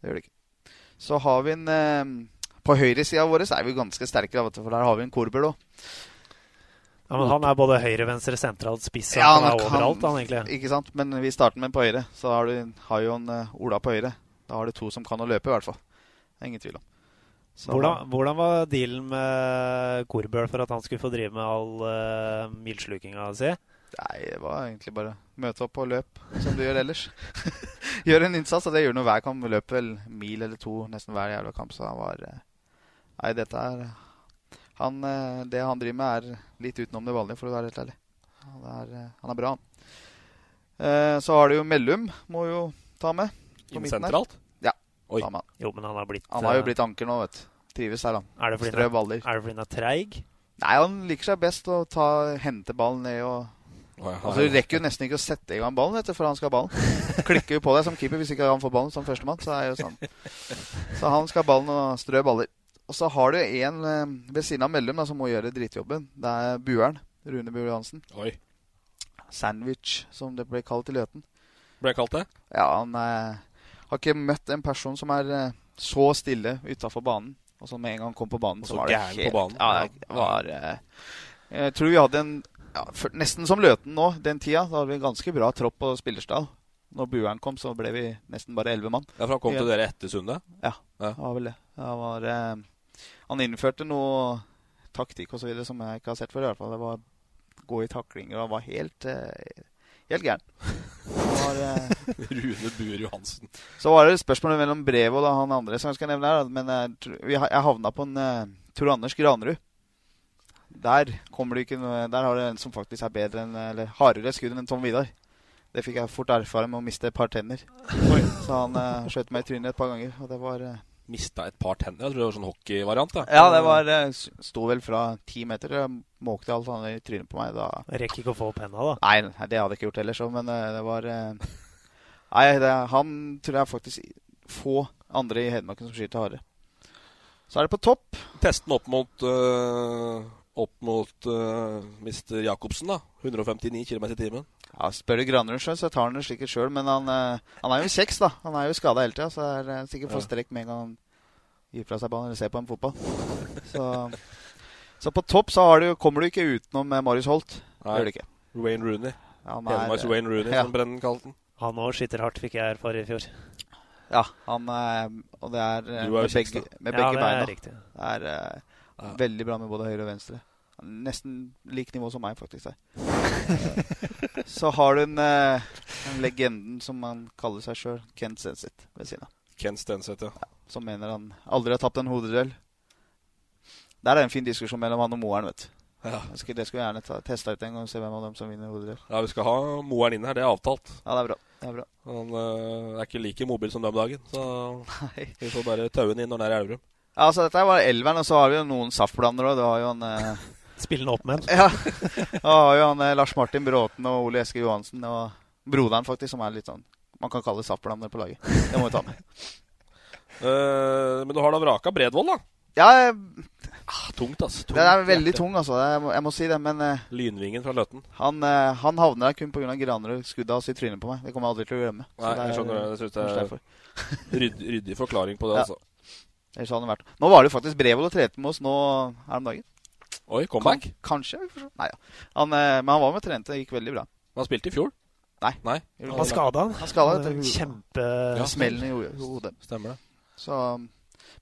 [SPEAKER 5] Det gjør det ikke. Så har vi en eh, På høyresida vår så er vi ganske sterke, da, vet du, for der har vi en Korber, da.
[SPEAKER 4] Ja, men han er både høyre, venstre, sentral, spiss.
[SPEAKER 5] Ja,
[SPEAKER 4] han
[SPEAKER 5] han
[SPEAKER 4] er
[SPEAKER 5] kan-
[SPEAKER 4] overalt, han egentlig.
[SPEAKER 5] Ikke sant? Men vi starter med en på høyre. Så har du har jo en eh, Ola på høyre. Da har du to som kan å løpe, i hvert fall. Det er ingen tvil om. Så-
[SPEAKER 4] Hvordan, hvordan var dealen med Korbøl for at han skulle få drive med all uh, milslukinga si?
[SPEAKER 5] Nei, det var egentlig bare møte opp og løp, som du gjør ellers. gjør en innsats, og det gjør du hver kamp. Vi løper vel mil eller to nesten hver jævla kamp, så han var eh, Nei, dette er han, eh, Det han driver med, er litt utenom det vanlige, for å være helt ærlig. Han er, eh, han er bra, han. Eh, Så har du jo Mellum, må jo ta med. på
[SPEAKER 3] Inn
[SPEAKER 5] midten her.
[SPEAKER 3] sentralt. Oi.
[SPEAKER 5] Ta med han.
[SPEAKER 4] Jo, men han har blitt,
[SPEAKER 5] han har jo
[SPEAKER 4] eh,
[SPEAKER 5] blitt anker nå, vet du. Trives her, han.
[SPEAKER 4] Er det fordi
[SPEAKER 5] Strø
[SPEAKER 4] han er,
[SPEAKER 5] baller.
[SPEAKER 4] er, det fordi han er treig?
[SPEAKER 5] Nei, han liker seg best å ta, hente ballen ned og
[SPEAKER 3] Å, ja,
[SPEAKER 5] Altså, du rekker jo nesten ikke å sette i gang ballen vet du, før han skal ha ballen. Klikker jo på deg som keeper hvis ikke han får ballen som førstemann. Så er jo sånn. Så han skal ha ballen og strø baller. Og så har du en eh, ved siden av Mellum da, som må gjøre drittjobben. Det er bueren. Rune Buer Johansen.
[SPEAKER 3] Oi.
[SPEAKER 5] Sandwich, som det ble kalt i Løten.
[SPEAKER 3] Ble jeg kalt det?
[SPEAKER 5] Ja, han eh, har ikke møtt en person som er eh, så stille utafor banen. Og som med en gang kom på banen,
[SPEAKER 3] Og
[SPEAKER 5] så
[SPEAKER 3] så
[SPEAKER 5] var det
[SPEAKER 3] gæren på
[SPEAKER 5] helt
[SPEAKER 3] banen.
[SPEAKER 5] Ja, det var eh, Jeg tror vi hadde en ja, for, Nesten som Løten nå, den tida. Da hadde vi en ganske bra tropp og spillerstall. Når bueren kom, så ble vi nesten bare elleve mann.
[SPEAKER 3] Ja, for han kom til dere etter Sunde.
[SPEAKER 5] Det var vel det. Det var, eh, han innførte noe taktikk og så videre som jeg ikke har sett før. i hvert fall. Det var gå i taklinger. og Han var helt, eh, helt gæren. Han var... Eh,
[SPEAKER 3] Rune Buer Johansen.
[SPEAKER 5] Så var det spørsmålet mellom Brevo og han andre som jeg skal nevne her. da, Men jeg, tr- vi ha- jeg havna på en eh, Tor Anders Granerud. Der kommer du ikke noe Der har du en som faktisk er bedre enn Eller hardere skudd enn Tom Vidar. Det fikk jeg fort erfare med å miste et par tenner. Så han eh, skjøt meg i trynet et par ganger. Og det var eh,
[SPEAKER 3] Mista et par tenner. Jeg tror det var sånn hockeyvariant. da.
[SPEAKER 5] Ja, det var eh, s- Sto vel fra ti meter. eh, Måkte alt annet i trynet på meg. Da
[SPEAKER 4] Rekker ikke å få opp henda, da.
[SPEAKER 5] Nei, nei, det hadde jeg ikke gjort heller, så, men eh, det var eh, Nei, det, han tror jeg faktisk få andre i Hedmarken som skyter hardere. Så er det på topp.
[SPEAKER 3] Teste den opp mot, øh, opp mot øh, Mr. Jacobsen, da. 159 km i timen.
[SPEAKER 5] Ja, Spør du Granlund sjøl, så tar han det sikkert sjøl, men han, eh, han er jo kjeks, da. Han er jo skada hele tida, så det er eh, sikkert
[SPEAKER 3] Ja.
[SPEAKER 5] for strekk med en gang han gir fra seg ballen eller ser på en fotball. Så, så på topp så har du, kommer du ikke utenom eh, Marius Holt. Det gjør du ikke.
[SPEAKER 3] Wayne Rooney.
[SPEAKER 5] Han er-
[SPEAKER 3] Hedmarks Wayne Rooney,
[SPEAKER 5] Ja.
[SPEAKER 3] som Brennen kalte den.
[SPEAKER 4] Han òg skyter hardt, fikk jeg erfare i fjor.
[SPEAKER 5] Ja, han eh, Og det er eh,
[SPEAKER 4] Du er jo
[SPEAKER 5] med
[SPEAKER 4] kjeks,
[SPEAKER 5] begge,
[SPEAKER 4] da. Ja,
[SPEAKER 5] med begge
[SPEAKER 4] det er
[SPEAKER 5] beina.
[SPEAKER 4] riktig.
[SPEAKER 5] Det er eh, veldig bra med både høyre og venstre. Nesten lik nivå som meg, faktisk. Der. Så har du en, eh, en legenden som han kaller seg sjøl, Kent Senseth, ved siden av.
[SPEAKER 3] Ken Stenseth, ja.
[SPEAKER 5] Som mener han aldri har tapt en hodeduell. Der er det en fin diskusjon mellom han og moeren, vet du.
[SPEAKER 3] Ja.
[SPEAKER 5] Jeg skulle- Det skulle jeg gjerne ta- testa ut en gang og se hvem av dem som vinner hodeduell.
[SPEAKER 3] Ja, Vi skal ha Moeren inn her, det er avtalt.
[SPEAKER 5] Ja, det er bra. Det er bra.
[SPEAKER 3] Han øh, er ikke like mobil som den om dagen, så vi får bare taue han inn når han er i Elverum.
[SPEAKER 5] Ja, altså Dette var elveren, og så har vi jo noen saftblandere òg. Du har jo han eh,
[SPEAKER 4] Spillende opp med
[SPEAKER 5] Ja. Du har jo han eh, Lars Martin Bråten og Ole Eske Johansen og broderen, faktisk, som er litt sånn Man kan kalle saftblander på laget. Det må vi ta med.
[SPEAKER 3] Eh, men du har da vraka Bredvold, da.
[SPEAKER 5] Ja, eh,
[SPEAKER 3] Tungt, ass. Tungt
[SPEAKER 5] den er veldig
[SPEAKER 3] hjerte.
[SPEAKER 5] tung, altså. Jeg må, jeg må si det. Men eh,
[SPEAKER 3] Lynvingen fra Løten.
[SPEAKER 5] han, eh, han havner der kun pga. Granerud skuddet hans i trynet på meg. Det kommer jeg aldri til å glemme. Så
[SPEAKER 3] Nei,
[SPEAKER 5] det er,
[SPEAKER 3] jeg skjønner det. Jeg synes
[SPEAKER 5] kanskje
[SPEAKER 3] det
[SPEAKER 5] derfor.
[SPEAKER 3] er rydd, ryddig forklaring på det,
[SPEAKER 5] Ja.
[SPEAKER 3] altså.
[SPEAKER 5] Ellers hadde han vært Nå var det jo faktisk Brevold og trente med oss nå her om dagen.
[SPEAKER 3] Oi, comeback?
[SPEAKER 5] Kan, kanskje? vi får se. Nei, ja. han, eh, men han var med og trente. Det gikk veldig bra.
[SPEAKER 3] Han spilte i fjor?
[SPEAKER 5] Nei.
[SPEAKER 3] Nei.
[SPEAKER 4] Han skada han.
[SPEAKER 5] Han skada
[SPEAKER 4] Han,
[SPEAKER 5] dette
[SPEAKER 4] Kjempe
[SPEAKER 5] ja, smellen i ho- hodet.
[SPEAKER 3] Stemmer det.
[SPEAKER 5] Så um,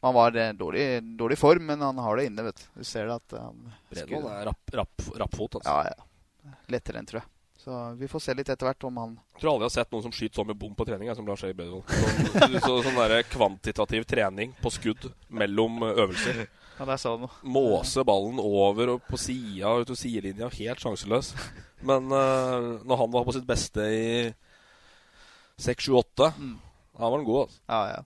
[SPEAKER 5] man var i dårlig, dårlig form, men han har det inne, vet du. Du ser det at eh, han
[SPEAKER 3] Bredvold
[SPEAKER 5] skuddet-
[SPEAKER 3] er rapp, rapp, rappfot, altså.
[SPEAKER 5] Ja, ja. Lettere enn, tror jeg. Så vi får se litt etter hvert om han
[SPEAKER 3] Jeg tror aldri jeg har sett noen som skyter så mye bom på trening jeg, som Lars Erik Bredvold. Sånn, så, sånn der kvantitativ trening på skudd mellom øvelser.
[SPEAKER 5] Ja, der sa du noe.
[SPEAKER 3] Måse ballen over og på sida ut til sidelinja, helt sjanseløs. Men eh, når han var på sitt beste i 6-7-8, da var han god, altså.
[SPEAKER 5] Ja, ja.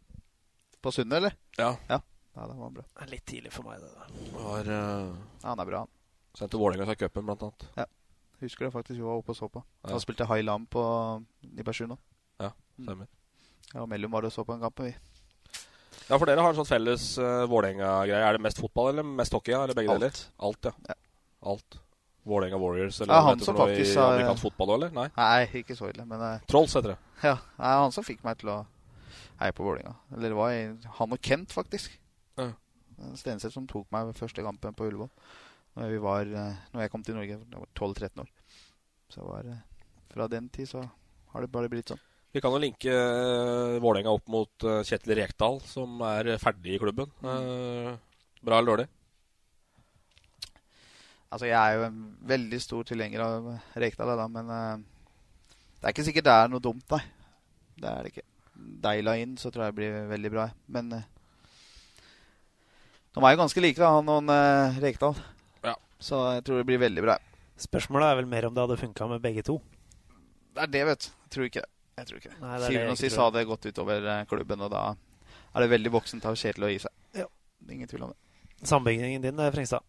[SPEAKER 5] På Sunde, eller?
[SPEAKER 3] Ja.
[SPEAKER 5] Ja, ja det var bra.
[SPEAKER 4] Det er Litt tidlig for meg, det der.
[SPEAKER 3] Var, uh,
[SPEAKER 5] Ja, han er bra, han.
[SPEAKER 3] sendte Vålerenga seg i cupen, blant annet.
[SPEAKER 5] Husker det faktisk vi var oppe og så på.
[SPEAKER 3] Ja.
[SPEAKER 5] Han spilte High Lam på Nibersund òg.
[SPEAKER 3] Ja, stemmer.
[SPEAKER 5] Ja, og Mellom var det og så på en kamp. Vi.
[SPEAKER 3] Ja, for dere har en sånn felles uh, Vålerenga-greie. Er det mest fotball eller mest hockey? ja? Eller begge
[SPEAKER 5] Alt.
[SPEAKER 3] deler? Alt, ja. Alt. Vålerenga Warriors eller
[SPEAKER 5] Ja,
[SPEAKER 3] hva
[SPEAKER 5] han
[SPEAKER 3] heter
[SPEAKER 5] som
[SPEAKER 3] det nå i
[SPEAKER 5] faktisk har-
[SPEAKER 3] amerikansk fotball òg, eller? Nei.
[SPEAKER 5] Nei, ikke så ille, men eh,
[SPEAKER 3] Trolls heter det.
[SPEAKER 5] ja. Nei, han som fikk meg til å heie på Vålerenga. Eller det var en- han og Kent, faktisk. Eh,
[SPEAKER 3] Ja.
[SPEAKER 5] Stenseth som tok meg ved første kampen på Ullevål. Når, vi var, eh, når jeg kom til Norge, jeg var 12-13 år. Så det var eh, Fra den tid så har det bare blitt sånn.
[SPEAKER 3] Vi kan jo linke eh, Vålerenga opp mot eh, Kjetil Rekdal, som er ferdig i klubben.
[SPEAKER 5] Mm.
[SPEAKER 3] Eh, Bra eller dårlig?
[SPEAKER 5] Altså, jeg er jo en veldig stor tilhenger av Rekdal, da, men eh, det er ikke sikkert det er noe dumt, nei. Det er det ikke. Deila inn, så tror jeg det blir veldig bra. jeg. Men eh, de er jo ganske like, da, han og eh, Rekdal.
[SPEAKER 3] Ja.
[SPEAKER 5] Så jeg tror det blir veldig bra. jeg.
[SPEAKER 4] Spørsmålet er vel mer om det hadde funka med begge to.
[SPEAKER 5] Det er det, vet du. Jeg tror ikke det. Jeg tror ikke det.
[SPEAKER 4] Nei, det er det jeg
[SPEAKER 5] Syvende og
[SPEAKER 4] ikke
[SPEAKER 5] sist
[SPEAKER 4] tror.
[SPEAKER 5] hadde det gått utover eh, klubben, og da er det veldig voksent av Kjetil å gi seg.
[SPEAKER 4] Ja.
[SPEAKER 5] Ingen tvil om det.
[SPEAKER 4] Sambygningen din, eh, Frengstad.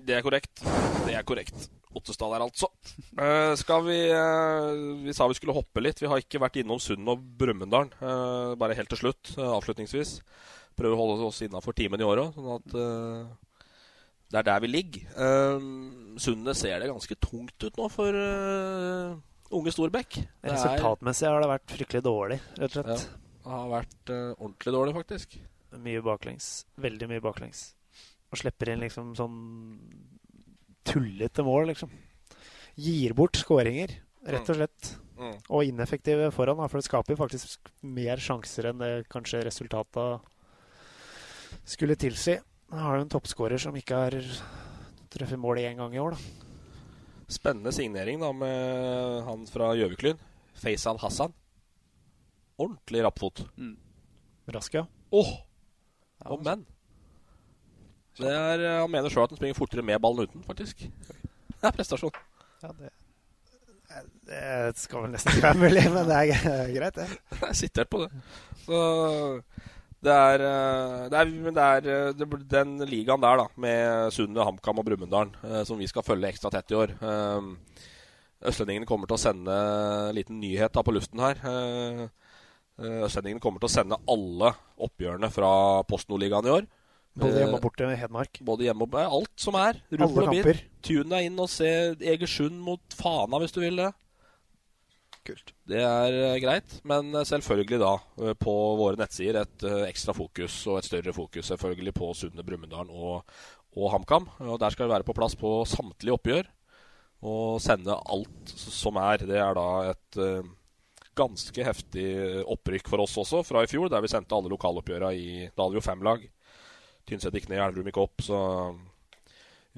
[SPEAKER 3] Det er korrekt. Det er korrekt. Ottestad der, altså. Eh, skal vi eh, Vi sa vi skulle hoppe litt. Vi har ikke vært innom Sund og Brumunddal. eh, bare helt til slutt, eh, avslutningsvis. Prøver å holde oss innafor timen i år òg, sånn at eh, det er der vi ligger. Eh, Sundet ser det ganske tungt ut nå for eh, unge Storbekk. Det er-
[SPEAKER 4] Resultatmessig har det vært fryktelig dårlig, rett og slett.
[SPEAKER 3] Det har vært eh, ordentlig dårlig, faktisk.
[SPEAKER 4] Mye baklengs. Veldig mye baklengs. Og slipper inn liksom sånn tullete mål, liksom. Gir bort skåringer, rett og slett.
[SPEAKER 3] Mm.
[SPEAKER 4] Og ineffektive foran, da, for det skaper jo faktisk mer sjanser enn det kanskje resultata skulle tilsi. Nå har du en toppskårer som ikke har truffet mål én gang i år, da.
[SPEAKER 3] Spennende signering da med han fra Gjøviklyn. Faisal Hassan. Ordentlig rappfot.
[SPEAKER 4] Rask, ja.
[SPEAKER 3] Åh! Å, altså. men! Det er, eh, han mener sjøl at han springer fortere med ballen uten, faktisk. Det er prestasjon.
[SPEAKER 5] Ja, det
[SPEAKER 4] Det skal vel nesten ikke være mulig, men det er g- greit, det.
[SPEAKER 3] Jeg sitter på det. Så det er, eh, det er, men det er eh, det, blir- den ligaen der, da, med Sundet, HamKam og Brumunddal, eh, som vi skal følge ekstra tett i år eh, Østlendingene kommer til å sende en liten nyhet da på luften her. eh, eh, Østlendingene kommer til å sende alle oppgjørene fra Post Nordligaen i år.
[SPEAKER 4] Både hjemme og
[SPEAKER 3] Eh,
[SPEAKER 4] borte i Hedmark.
[SPEAKER 3] Både hjemme og eh, Alt som er.
[SPEAKER 4] Alle
[SPEAKER 3] Rull og
[SPEAKER 4] kamper.
[SPEAKER 3] bit. Tune deg inn og se Egersund mot Fana hvis du vil det. Kult. Det er eh, greit. Men eh, selvfølgelig da eh, på våre nettsider et eh, ekstra fokus og et større fokus selvfølgelig på Sunde, Brumunddal og, og HamKam. Og der skal vi være på plass på samtlige oppgjør og sende alt s- som er. Det er da et eh, ganske heftig opprykk for oss også fra i fjor, der vi sendte alle lokaloppgjøra i Da hadde vi jo fem lag. Tynset gikk ned, Elverum gikk opp, så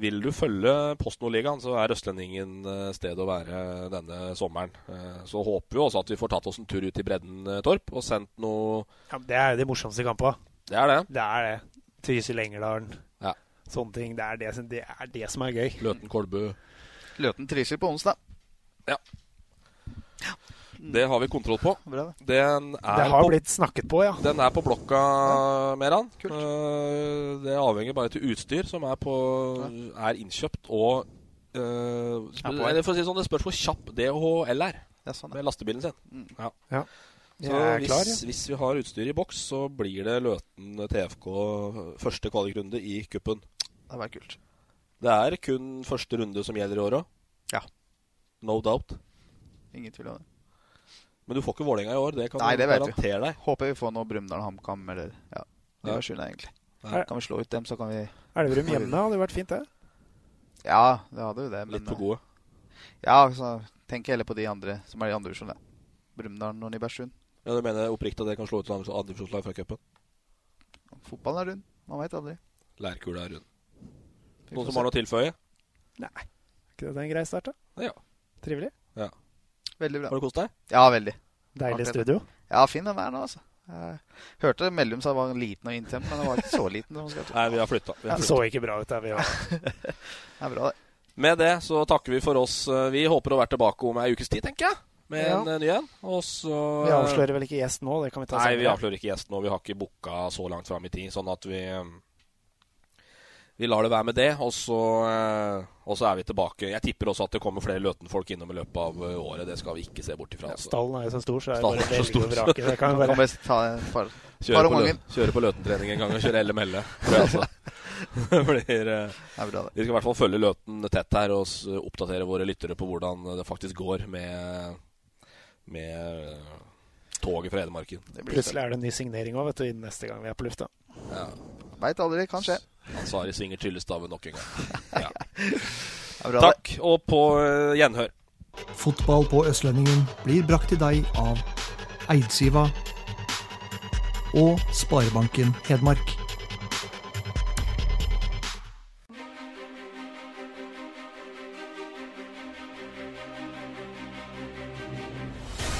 [SPEAKER 3] vil du følge Post Nordligaen, så er Østlendingen eh, stedet å være denne sommeren. Eh, Så håper vi også at vi får tatt oss en tur ut i bredden, eh, Torp, og sendt noe
[SPEAKER 4] Ja, men det er jo de morsomste kampene.
[SPEAKER 3] Det er det.
[SPEAKER 4] Det er det. Trysil-Engerdalen.
[SPEAKER 3] Ja.
[SPEAKER 4] Sånne ting. Det er det, som- det er det som er gøy.
[SPEAKER 3] Løten-Kolbø.
[SPEAKER 5] Løten Trysil på onsdag.
[SPEAKER 3] Det har vi kontroll på.
[SPEAKER 5] Bra,
[SPEAKER 3] Den er
[SPEAKER 4] Det har
[SPEAKER 3] på,
[SPEAKER 4] blitt snakket på, ja.
[SPEAKER 3] Den er på blokka, Meran. Eh, Det avhenger bare til utstyr, som er, på, er innkjøpt og eh,
[SPEAKER 5] på vei.
[SPEAKER 3] eller for å si det sånn, Det spørs hvor kjapp DHL er
[SPEAKER 5] Ja, sånn,
[SPEAKER 3] med lastebilen sin. Ja.
[SPEAKER 4] Ja.
[SPEAKER 3] Så
[SPEAKER 4] Jeg er
[SPEAKER 3] hvis,
[SPEAKER 4] klar, ja.
[SPEAKER 3] hvis vi har utstyr i boks, så blir det Løten TFK første kvalikrunde i cupen.
[SPEAKER 5] Det var kult.
[SPEAKER 3] Det er kun første runde som gjelder i år òg.
[SPEAKER 5] Ja.
[SPEAKER 3] No doubt.
[SPEAKER 5] Ingen tvil om det.
[SPEAKER 3] Men du får ikke Vålerenga i år, det kan
[SPEAKER 5] Nei,
[SPEAKER 3] du
[SPEAKER 5] det vet vi.
[SPEAKER 3] garantere deg.
[SPEAKER 5] Håper vi får noe Brumunddal HamKam eller ja, de
[SPEAKER 3] Ja.
[SPEAKER 5] var skylda, egentlig.
[SPEAKER 3] Ja.
[SPEAKER 5] Kan vi slå ut dem, så kan vi
[SPEAKER 4] Elverum hjemme hadde vært fint, det.
[SPEAKER 5] Ja, det hadde jo det, men eh,
[SPEAKER 3] Litt for gode.
[SPEAKER 5] Ja, så tenk heller på de andre som er de andre divisjonene. Brumunddal og Nybergsund.
[SPEAKER 3] Ja, Du mener oppriktig at det kan slå ut et andredivisjonslag fra cupen?
[SPEAKER 5] Fotballen er rund. Man veit aldri.
[SPEAKER 3] Lærkula er rund.
[SPEAKER 5] Vi får
[SPEAKER 3] Noen
[SPEAKER 5] se.
[SPEAKER 3] som har noe å tilføye?
[SPEAKER 4] Ikke det er en grei start, da?
[SPEAKER 3] Ja.
[SPEAKER 4] Trivelig.
[SPEAKER 5] Veldig bra.
[SPEAKER 3] Har du kost deg?
[SPEAKER 5] Ja, veldig.
[SPEAKER 4] Deilig
[SPEAKER 5] Akkurat.
[SPEAKER 4] studio.
[SPEAKER 5] Ja, fin den er nå, altså. Jeg hørte Mellum sa den var liten og inntemp, men den var ikke så liten. som man skal tro.
[SPEAKER 3] Nei, vi har flytta.
[SPEAKER 4] Det så ikke bra ut der vi var.
[SPEAKER 5] Det er bra, det.
[SPEAKER 3] Med det så takker vi for oss. Eh, Vi håper å være tilbake om ei ukes tid, tenker jeg. Med
[SPEAKER 4] Ja.
[SPEAKER 3] en eh, ny en. Og så
[SPEAKER 4] Vi avslører vel ikke gjest nå, det kan vi ta
[SPEAKER 3] Nei, vi
[SPEAKER 4] senere.
[SPEAKER 3] avslører ikke gjesten, og vi har ikke booka så langt fram i tid. Sånn at vi Vi lar det være med det, og så, eh, og så er vi tilbake. Jeg tipper også at det kommer flere Løten-folk innom i løpet av eh, året. Det skal vi ikke se bort ifra. Altså.
[SPEAKER 4] Stallen er jo så stor, så det er
[SPEAKER 3] Stallen
[SPEAKER 4] bare å velge
[SPEAKER 3] er så
[SPEAKER 4] og
[SPEAKER 3] stor, så-
[SPEAKER 4] vrake. Det kan vi
[SPEAKER 5] Kan
[SPEAKER 4] bare
[SPEAKER 5] best ta en par.
[SPEAKER 3] Kjøre på,
[SPEAKER 5] Bare om
[SPEAKER 3] lø kjøre på Løten-trening en gang og kjøre LML. tror jeg, Altså. Det Blir, eh,
[SPEAKER 5] Det er bra, det.
[SPEAKER 3] vi skal i hvert fall følge Løten tett her og s- oppdatere våre lyttere på hvordan det faktisk går med, med eh, toget fra Edmarken.
[SPEAKER 5] det blir
[SPEAKER 4] Plutselig er det en ny signering òg, vet du, innen neste gang vi er på lufta.
[SPEAKER 5] Veit aldri. Kan skje.
[SPEAKER 3] Ansari svinger tryllestaven nok en gang.
[SPEAKER 5] Det er bra, det.
[SPEAKER 3] Takk, og på eh, gjenhør.
[SPEAKER 1] Fotball på Østlendingen blir brakt til deg av Eidsiva og Sparebanken Hedmark.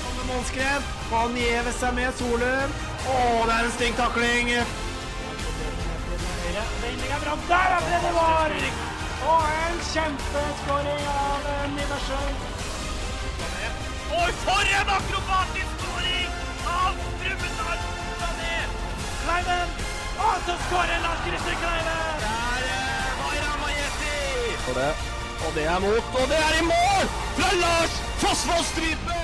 [SPEAKER 2] Kommer Målskrev. Han gjever seg med Solum. Å, det er en stygg takling. Vendinga fram. Der er det det var! Og en kjempeskåring av eh, Nibersen. Oi, for en akrobatisk skåring av Brumunddal! Kleiven! Og så skårer Lars Christer Kleiven! Der var Ramajeti! Og det er mot, og det er i mål! Fra Lars Fossvoll Strype!